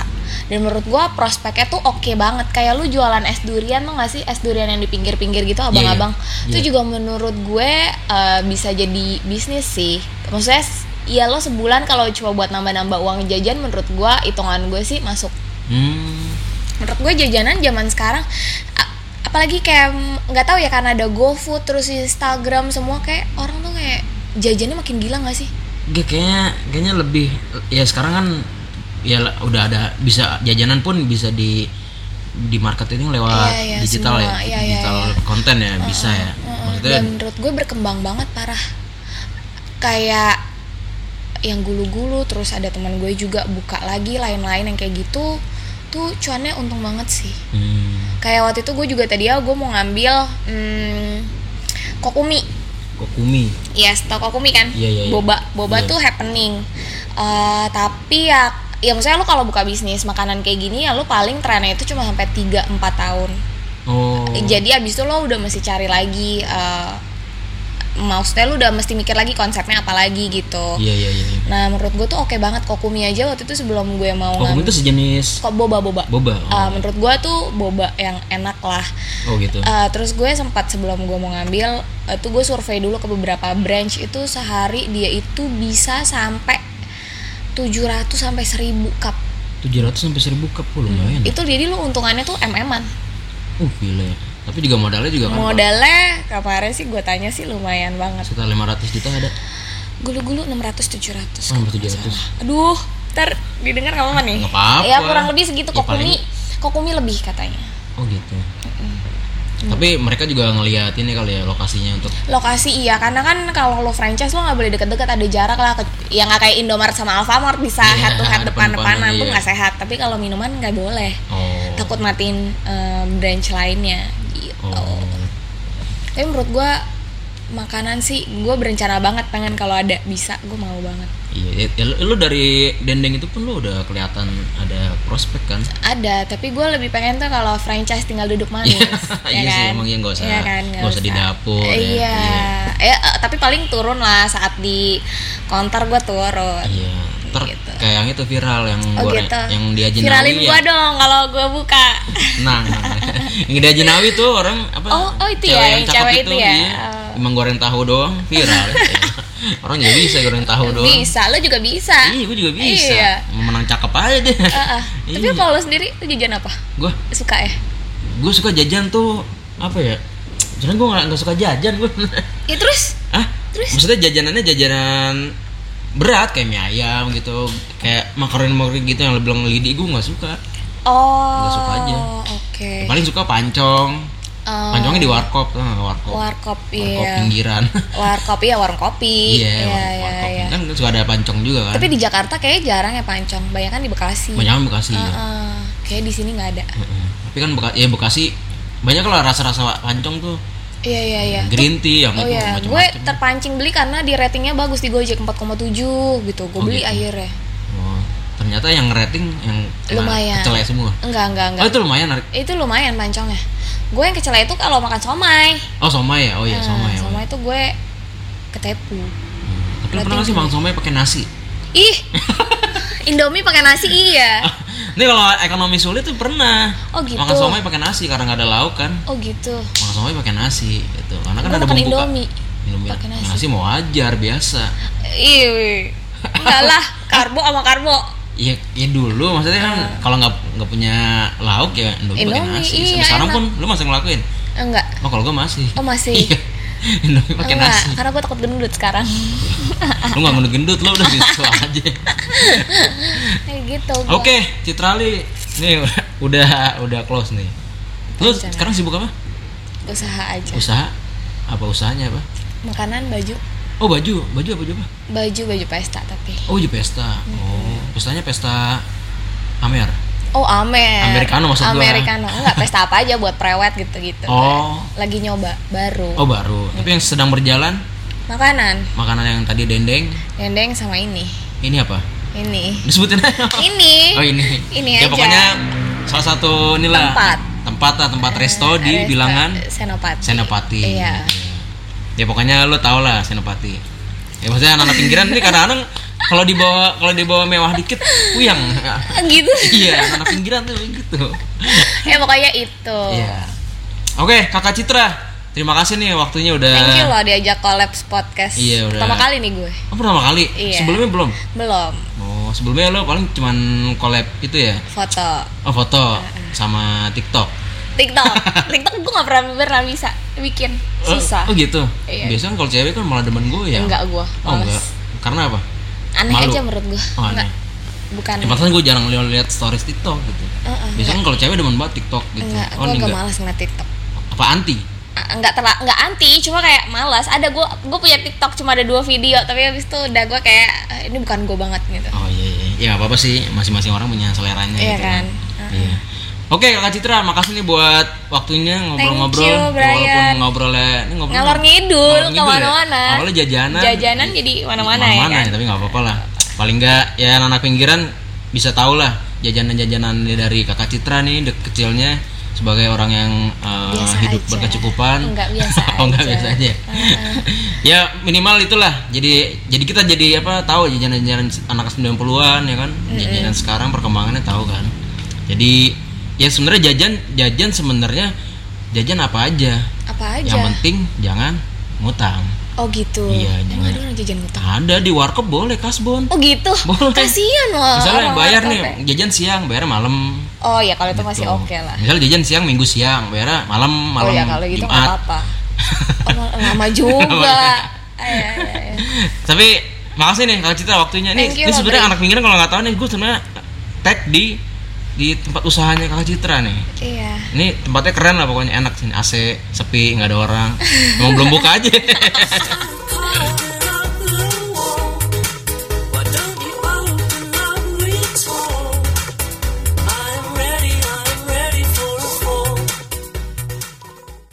[SPEAKER 2] Dan menurut gua prospeknya tuh oke banget. Kayak lu jualan es durian tuh nggak sih es durian yang di pinggir-pinggir gitu abang-abang.
[SPEAKER 1] iya.
[SPEAKER 2] Itu
[SPEAKER 1] Iya.
[SPEAKER 2] juga menurut gue eh, bisa jadi bisnis sih. Maksudnya s- ya lo sebulan kalau cuma buat nambah-nambah uang jajan menurut gua hitungan gue sih masuk
[SPEAKER 1] Hmm.
[SPEAKER 2] menurut gue jajanan zaman sekarang a- apalagi kayak mm, nggak tahu ya karena ada GoFood terus Instagram semua kayak orang tuh kayak jajannya makin gila nggak sih
[SPEAKER 1] Gak, kayaknya kayaknya lebih ya sekarang kan ya la- udah ada bisa jajanan pun bisa di di marketing lewat
[SPEAKER 2] Iya, iya,
[SPEAKER 1] digital
[SPEAKER 2] semua.
[SPEAKER 1] ya
[SPEAKER 2] Iya, iya,
[SPEAKER 1] digital
[SPEAKER 2] iya.
[SPEAKER 1] konten ya bisa ya
[SPEAKER 2] Heeh,
[SPEAKER 1] maksudnya
[SPEAKER 2] dan menurut gue berkembang banget parah kayak yang gulu-gulu terus ada teman gue juga buka lagi lain-lain yang kayak gitu tuh cuannya untung banget sih
[SPEAKER 1] hmm,
[SPEAKER 2] kayak waktu itu gue juga tadi ya gue mau ngambil mm, kokumi
[SPEAKER 1] kokumi
[SPEAKER 2] Yes, toko kumi kan?
[SPEAKER 1] Iya, iya, iya.
[SPEAKER 2] Boba, boba
[SPEAKER 1] Iya.
[SPEAKER 2] tuh happening. Eh, tapi ya ya maksudnya lu kalau buka bisnis makanan kayak gini ya lu paling trennya itu cuma sampai 3 4 tahun.
[SPEAKER 1] oh
[SPEAKER 2] Jadi abis itu lo udah mesti cari lagi eh maksudnya lu udah mesti mikir lagi konsepnya apa lagi gitu.
[SPEAKER 1] iya iya iya
[SPEAKER 2] Nah, menurut gue tuh oke banget kokumi aja waktu itu sebelum gue mau
[SPEAKER 1] kokumi itu sejenis
[SPEAKER 2] kok boba boba.
[SPEAKER 1] boba
[SPEAKER 2] Eh,
[SPEAKER 1] oh,
[SPEAKER 2] menurut gue tuh boba yang enak lah.
[SPEAKER 1] Oh, gitu
[SPEAKER 2] Eh, terus gue sempat sebelum gue mau ngambil eh, tuh gue survei dulu ke beberapa branch itu sehari dia itu bisa sampai 700 sampai 1000 cup.
[SPEAKER 1] 700 sampai 1000 cup oh, lumayan
[SPEAKER 2] Itu jadi lu untungannya tuh MM-an. Hmm.
[SPEAKER 1] uh gila ya tapi juga modalnya juga kan Pak.
[SPEAKER 2] Modalnya kemarin sih gue tanya sih lumayan banget.
[SPEAKER 1] sekitar 500 juta ada
[SPEAKER 2] Gulu-gulu
[SPEAKER 1] oh,
[SPEAKER 2] 600 700.
[SPEAKER 1] sampai 700
[SPEAKER 2] Aduh, ntar didengar kamu nih?
[SPEAKER 1] Nggak apa-apa.
[SPEAKER 2] Ya kurang lebih segitu
[SPEAKER 1] Ya,
[SPEAKER 2] kokumi.
[SPEAKER 1] paling-
[SPEAKER 2] Kokumi lebih katanya.
[SPEAKER 1] oh gitu Oh, Tapi mereka juga ngelihat ini kali ya lokasinya untuk
[SPEAKER 2] lokasi iya karena kan kalau lo franchise lo nggak boleh deket-deket ada jarak lah ke- ya nggak kayak Indomaret sama Alfamart bisa
[SPEAKER 1] Iya,
[SPEAKER 2] head
[SPEAKER 1] <laughs>
[SPEAKER 2] to head depan-depanan
[SPEAKER 1] depan-depanan,
[SPEAKER 2] tuh
[SPEAKER 1] iya.
[SPEAKER 2] nggak sehat tapi kalau minuman nggak boleh
[SPEAKER 1] oh.
[SPEAKER 2] takut matiin eh, branch lainnya gitu
[SPEAKER 1] Oh.
[SPEAKER 2] tapi menurut gua makanan sih gue berencana banget pengen kalau ada bisa gue mau banget
[SPEAKER 1] Iya, ya, lu- lu dari dendeng itu pun lu udah kelihatan ada prospek kan?
[SPEAKER 2] ada tapi gue lebih pengen tuh kalau franchise tinggal duduk manis ya
[SPEAKER 1] <laughs> Iya sih,
[SPEAKER 2] kan?
[SPEAKER 1] emang iya, nggak usah-
[SPEAKER 2] Iya kan, nggak
[SPEAKER 1] nggak usah di dapur, ya.
[SPEAKER 2] iya Eh, eh, tapi paling turun lah saat di konter gue turun
[SPEAKER 1] Iya. Ter
[SPEAKER 2] Gitu.
[SPEAKER 1] kayak yang itu viral yang
[SPEAKER 2] oh
[SPEAKER 1] goreng-
[SPEAKER 2] gitu
[SPEAKER 1] yang di Ajinawi
[SPEAKER 2] viralin
[SPEAKER 1] ya.
[SPEAKER 2] gue dong kalau gue buka
[SPEAKER 1] Nah, nah. yang di Ajinawi tuh orang apa?
[SPEAKER 2] Oh, oh, itu
[SPEAKER 1] cewek
[SPEAKER 2] ya,
[SPEAKER 1] yang
[SPEAKER 2] yang
[SPEAKER 1] cakep
[SPEAKER 2] cewek itu ya.
[SPEAKER 1] iya. Emang goreng tahu doang viral. ya. orang juga bisa goreng tahu Oh, doang.
[SPEAKER 2] bisa lo juga bisa
[SPEAKER 1] Iya, gue juga bisa.
[SPEAKER 2] Iya.
[SPEAKER 1] Mau Menang cakep aja deh.
[SPEAKER 2] Ah, ah. tapi
[SPEAKER 1] Iya.
[SPEAKER 2] kalau lo sendiri lo jajan apa
[SPEAKER 1] Gue
[SPEAKER 2] suka ya
[SPEAKER 1] gue suka jajan tuh apa ya? Sebenernya gue nggak nggak suka jajan gue.
[SPEAKER 2] ya terus
[SPEAKER 1] ah?
[SPEAKER 2] Terus?
[SPEAKER 1] Maksudnya jajanannya jajanan berat kayak mie ayam gitu, kayak makaroni makaroni gitu yang lebih lidi gue nggak suka.
[SPEAKER 2] oh
[SPEAKER 1] Nggak suka aja.
[SPEAKER 2] oke
[SPEAKER 1] Yang paling suka pancong.
[SPEAKER 2] Oh.
[SPEAKER 1] Pancongnya di warkop, tau nggak warkop.
[SPEAKER 2] warkop
[SPEAKER 1] Warkop
[SPEAKER 2] Eh, iya
[SPEAKER 1] pinggiran.
[SPEAKER 2] warkop ya warung kopi
[SPEAKER 1] Iya, warkop- warkop. Kan suka ada pancong juga kan.
[SPEAKER 2] Tapi di Jakarta kayaknya jarang ya pancong. Banyak kan di Bekasi.
[SPEAKER 1] Banyak kan Bekasi. ya.
[SPEAKER 2] Heeh. kayak di sini nggak ada.
[SPEAKER 1] Heeh. Tapi kan Beka- ya Bekasi banyak lah rasa-rasa pancong tuh.
[SPEAKER 2] Iya iya iya.
[SPEAKER 1] Green tea yang
[SPEAKER 2] Oh
[SPEAKER 1] itu
[SPEAKER 2] iya, gue
[SPEAKER 1] macam-macam.
[SPEAKER 2] terpancing beli karena di ratingnya bagus di Gojek 4,7 gitu. Gue
[SPEAKER 1] Oh,
[SPEAKER 2] beli
[SPEAKER 1] gitu.
[SPEAKER 2] akhirnya.
[SPEAKER 1] Oh, ternyata yang rating yang kena
[SPEAKER 2] Lumayan.
[SPEAKER 1] kecelek semua.
[SPEAKER 2] Enggak enggak enggak.
[SPEAKER 1] Oh, itu lumayan narik.
[SPEAKER 2] itu lumayan pancongnya. Gue yang kecele itu kalau makan somai.
[SPEAKER 1] Oh, somai ya. Oh iya,
[SPEAKER 2] Nah,
[SPEAKER 1] somai. ya.
[SPEAKER 2] somai itu gue ketepu.
[SPEAKER 1] Hmm. Tapi lu pernah nggak sih makan somai pakai nasi? <laughs>
[SPEAKER 2] Ih. Indomie pakai nasi iya.
[SPEAKER 1] Ini kalau ekonomi sulit tuh pernah.
[SPEAKER 2] Oh, gitu.
[SPEAKER 1] Makan somai pakai nasi karena nggak ada lauk kan.
[SPEAKER 2] Oh gitu.
[SPEAKER 1] Makan somai pakai nasi gitu. Karena kan
[SPEAKER 2] Gue
[SPEAKER 1] ada
[SPEAKER 2] makan
[SPEAKER 1] bumbu. Kak.
[SPEAKER 2] Indomie.
[SPEAKER 1] Indomie
[SPEAKER 2] Pakai nasi.
[SPEAKER 1] nasi. mau ajar biasa.
[SPEAKER 2] Ih. Enggak
[SPEAKER 1] <laughs>
[SPEAKER 2] lah, karbo sama karbo.
[SPEAKER 1] Ya, ya dulu maksudnya kan kalau nggak nggak punya lauk ya Indomie, pakai
[SPEAKER 2] Ah. Indomie,
[SPEAKER 1] nasi.
[SPEAKER 2] iya,
[SPEAKER 1] Sampai sekarang
[SPEAKER 2] enak.
[SPEAKER 1] pun lu masih ngelakuin.
[SPEAKER 2] Enggak.
[SPEAKER 1] Oh kalau gua masih. <laughs>
[SPEAKER 2] Oh, masih? Oh,
[SPEAKER 1] Iya. Indomie pakai
[SPEAKER 2] Enggak,
[SPEAKER 1] nasi.
[SPEAKER 2] karena gue takut gendut
[SPEAKER 1] <laughs>
[SPEAKER 2] sekarang
[SPEAKER 1] Lu nggak gendut-gendut lu udah
[SPEAKER 2] <laughs>
[SPEAKER 1] gitu aja.
[SPEAKER 2] Kayak gitu gua.
[SPEAKER 1] Oke, Citrali. Nih udah udah close nih. Lu
[SPEAKER 2] Rencana.
[SPEAKER 1] sekarang sibuk apa?
[SPEAKER 2] Usaha aja
[SPEAKER 1] Usaha. Apa usahanya apa?
[SPEAKER 2] Makanan, baju
[SPEAKER 1] Oh baju, baju apa baju apa?
[SPEAKER 2] Baju, baju pesta tapi
[SPEAKER 1] Oh baju pesta.
[SPEAKER 2] Hmm.
[SPEAKER 1] Oh pestanya pesta Amer.
[SPEAKER 2] Oh Amer
[SPEAKER 1] Americano maksud gua.
[SPEAKER 2] Americano Enggak, pesta apa aja buat prewet gitu-gitu
[SPEAKER 1] Oh.
[SPEAKER 2] Lagi nyoba, baru
[SPEAKER 1] Oh baru.
[SPEAKER 2] Hmm.
[SPEAKER 1] Tapi yang sedang berjalan
[SPEAKER 2] Makanan
[SPEAKER 1] makanan yang tadi dendeng
[SPEAKER 2] Dendeng sama ini
[SPEAKER 1] ini apa?
[SPEAKER 2] Ini
[SPEAKER 1] Disebutin
[SPEAKER 2] <laughs>
[SPEAKER 1] aja.
[SPEAKER 2] Ini
[SPEAKER 1] Oh ini.
[SPEAKER 2] Ini
[SPEAKER 1] ya,
[SPEAKER 2] aja
[SPEAKER 1] pokoknya salah satu inilah
[SPEAKER 2] Tempat.
[SPEAKER 1] tempat lah tempat resto Oh, di
[SPEAKER 2] Resta-
[SPEAKER 1] bilangan
[SPEAKER 2] Senopati
[SPEAKER 1] Senopati. <laughs>
[SPEAKER 2] Iya
[SPEAKER 1] Ya pokoknya lu tau lah Senopati. Ya maksudnya anak-anak pinggiran ini kadang-kadang kalau dibawa kalau dibawa mewah dikit puyang. <laughs>
[SPEAKER 2] Gitu <laughs>
[SPEAKER 1] iya, anak pinggiran tuh gitu.
[SPEAKER 2] Ya pokoknya itu
[SPEAKER 1] Iya. Oke, Kakak Citra. Terima kasih nih waktunya udah
[SPEAKER 2] Thank you loh diajak collabs podcast
[SPEAKER 1] Eh. Iya, udah.
[SPEAKER 2] Pertama kali nih gue
[SPEAKER 1] Oh, pertama kali.
[SPEAKER 2] Iya.
[SPEAKER 1] Sebelumnya belum.
[SPEAKER 2] Belum
[SPEAKER 1] Oh, sebelumnya lo paling cuman collab itu ya.
[SPEAKER 2] Foto
[SPEAKER 1] Oh, foto
[SPEAKER 2] Iya.
[SPEAKER 1] sama TikTok. <laughs>
[SPEAKER 2] TikTok. TikTok gue gak pernah pernah bisa bikin
[SPEAKER 1] Oh,
[SPEAKER 2] susah.
[SPEAKER 1] Oh, gitu.
[SPEAKER 2] Iya.
[SPEAKER 1] Biasanya kalau cewek kan malah demen gue ya.
[SPEAKER 2] Enggak gue.
[SPEAKER 1] Oh, enggak. Karena apa?
[SPEAKER 2] Aneh
[SPEAKER 1] Malu.
[SPEAKER 2] aja menurut gue.
[SPEAKER 1] Oh, aneh.
[SPEAKER 2] Bukan.
[SPEAKER 1] Ya, gue jarang lihat lihat stories TikTok gitu.
[SPEAKER 2] Heeh,
[SPEAKER 1] Biasanya kan kalau cewek demen banget TikTok gitu.
[SPEAKER 2] enggak,
[SPEAKER 1] Oh,
[SPEAKER 2] gue
[SPEAKER 1] ini
[SPEAKER 2] agak
[SPEAKER 1] enggak.
[SPEAKER 2] malas ngeliat TikTok.
[SPEAKER 1] Apa anti?
[SPEAKER 2] Ah, Enggak terla, enggak anti, cuma kayak malas. Ada gue, gue punya TikTok cuma ada dua video, tapi habis itu udah gue kayak "Ah, ini bukan gue banget gitu.
[SPEAKER 1] Oh iya iya. Ya nggak apa-apa sih, masing-masing orang punya seleranya
[SPEAKER 2] Iya
[SPEAKER 1] gitu.
[SPEAKER 2] kan?
[SPEAKER 1] Iya. Oke, Kak Citra, makasih nih buat waktunya ngobrol-ngobrol.
[SPEAKER 2] you, Brian.
[SPEAKER 1] Walaupun ngobrolnya ini ngobrol
[SPEAKER 2] Ngalor ngidul
[SPEAKER 1] ngalor
[SPEAKER 2] ke
[SPEAKER 1] ngidul ya.
[SPEAKER 2] mana-mana.
[SPEAKER 1] Awalnya jajanan.
[SPEAKER 2] Jajanan jadi mana-mana ya
[SPEAKER 1] Mana-mana
[SPEAKER 2] kan?
[SPEAKER 1] tapi nggak apa-apa lah. Paling nggak ya anak pinggiran bisa tahu lah jajanan-jajanan dari Kakak Citra nih dek kecilnya sebagai orang yang eh,
[SPEAKER 2] Biasa
[SPEAKER 1] hidup
[SPEAKER 2] aja.
[SPEAKER 1] berkecukupan.
[SPEAKER 2] Enggak, biasa
[SPEAKER 1] <laughs> oh, enggak
[SPEAKER 2] aja.
[SPEAKER 1] biasa aja.
[SPEAKER 2] <laughs>
[SPEAKER 1] ya minimal itulah. Jadi jadi kita jadi apa tahu jajanan-jajanan anak 90-an ya kan. Jajanan sekarang perkembangannya tahu kan. Jadi ya sebenarnya jajan jajan sebenarnya jajan apa aja.
[SPEAKER 2] Apa aja?
[SPEAKER 1] Yang penting jangan ngutang.
[SPEAKER 2] Oh gitu.
[SPEAKER 1] Iya, jangan.
[SPEAKER 2] Emang ada orang jajan utang.
[SPEAKER 1] Ada di warkop boleh kasbon.
[SPEAKER 2] Oh gitu.
[SPEAKER 1] Boleh.
[SPEAKER 2] Kasihan
[SPEAKER 1] <laughs>
[SPEAKER 2] loh.
[SPEAKER 1] Misalnya
[SPEAKER 2] orang
[SPEAKER 1] bayar
[SPEAKER 2] laptop
[SPEAKER 1] nih
[SPEAKER 2] ya.
[SPEAKER 1] jajan siang, bayar malam.
[SPEAKER 2] Oh ya kalau itu masih
[SPEAKER 1] Tuh.
[SPEAKER 2] oke lah.
[SPEAKER 1] Misalnya jajan siang minggu siang, bayar malam malam
[SPEAKER 2] oh ya kalau gitu nggak
[SPEAKER 1] Jumat.
[SPEAKER 2] apa-apa. Oh, mal-
[SPEAKER 1] <laughs>
[SPEAKER 2] lama juga. Iya, Ay, ay, ay, ay.
[SPEAKER 1] Tapi makasih nih kalau cerita waktunya. Nih,
[SPEAKER 2] Thank you
[SPEAKER 1] ini
[SPEAKER 2] loh,
[SPEAKER 1] sebenarnya
[SPEAKER 2] Bri.
[SPEAKER 1] anak pinggiran kalau nggak tahu nih gue sebenarnya tag di di tempat usahanya Kakak Citra nih.
[SPEAKER 2] Iya.
[SPEAKER 1] Ini
[SPEAKER 2] <laughs>
[SPEAKER 1] tempatnya keren lah pokoknya enak sini AC, sepi, nggak ada orang. Emang belum buka aja.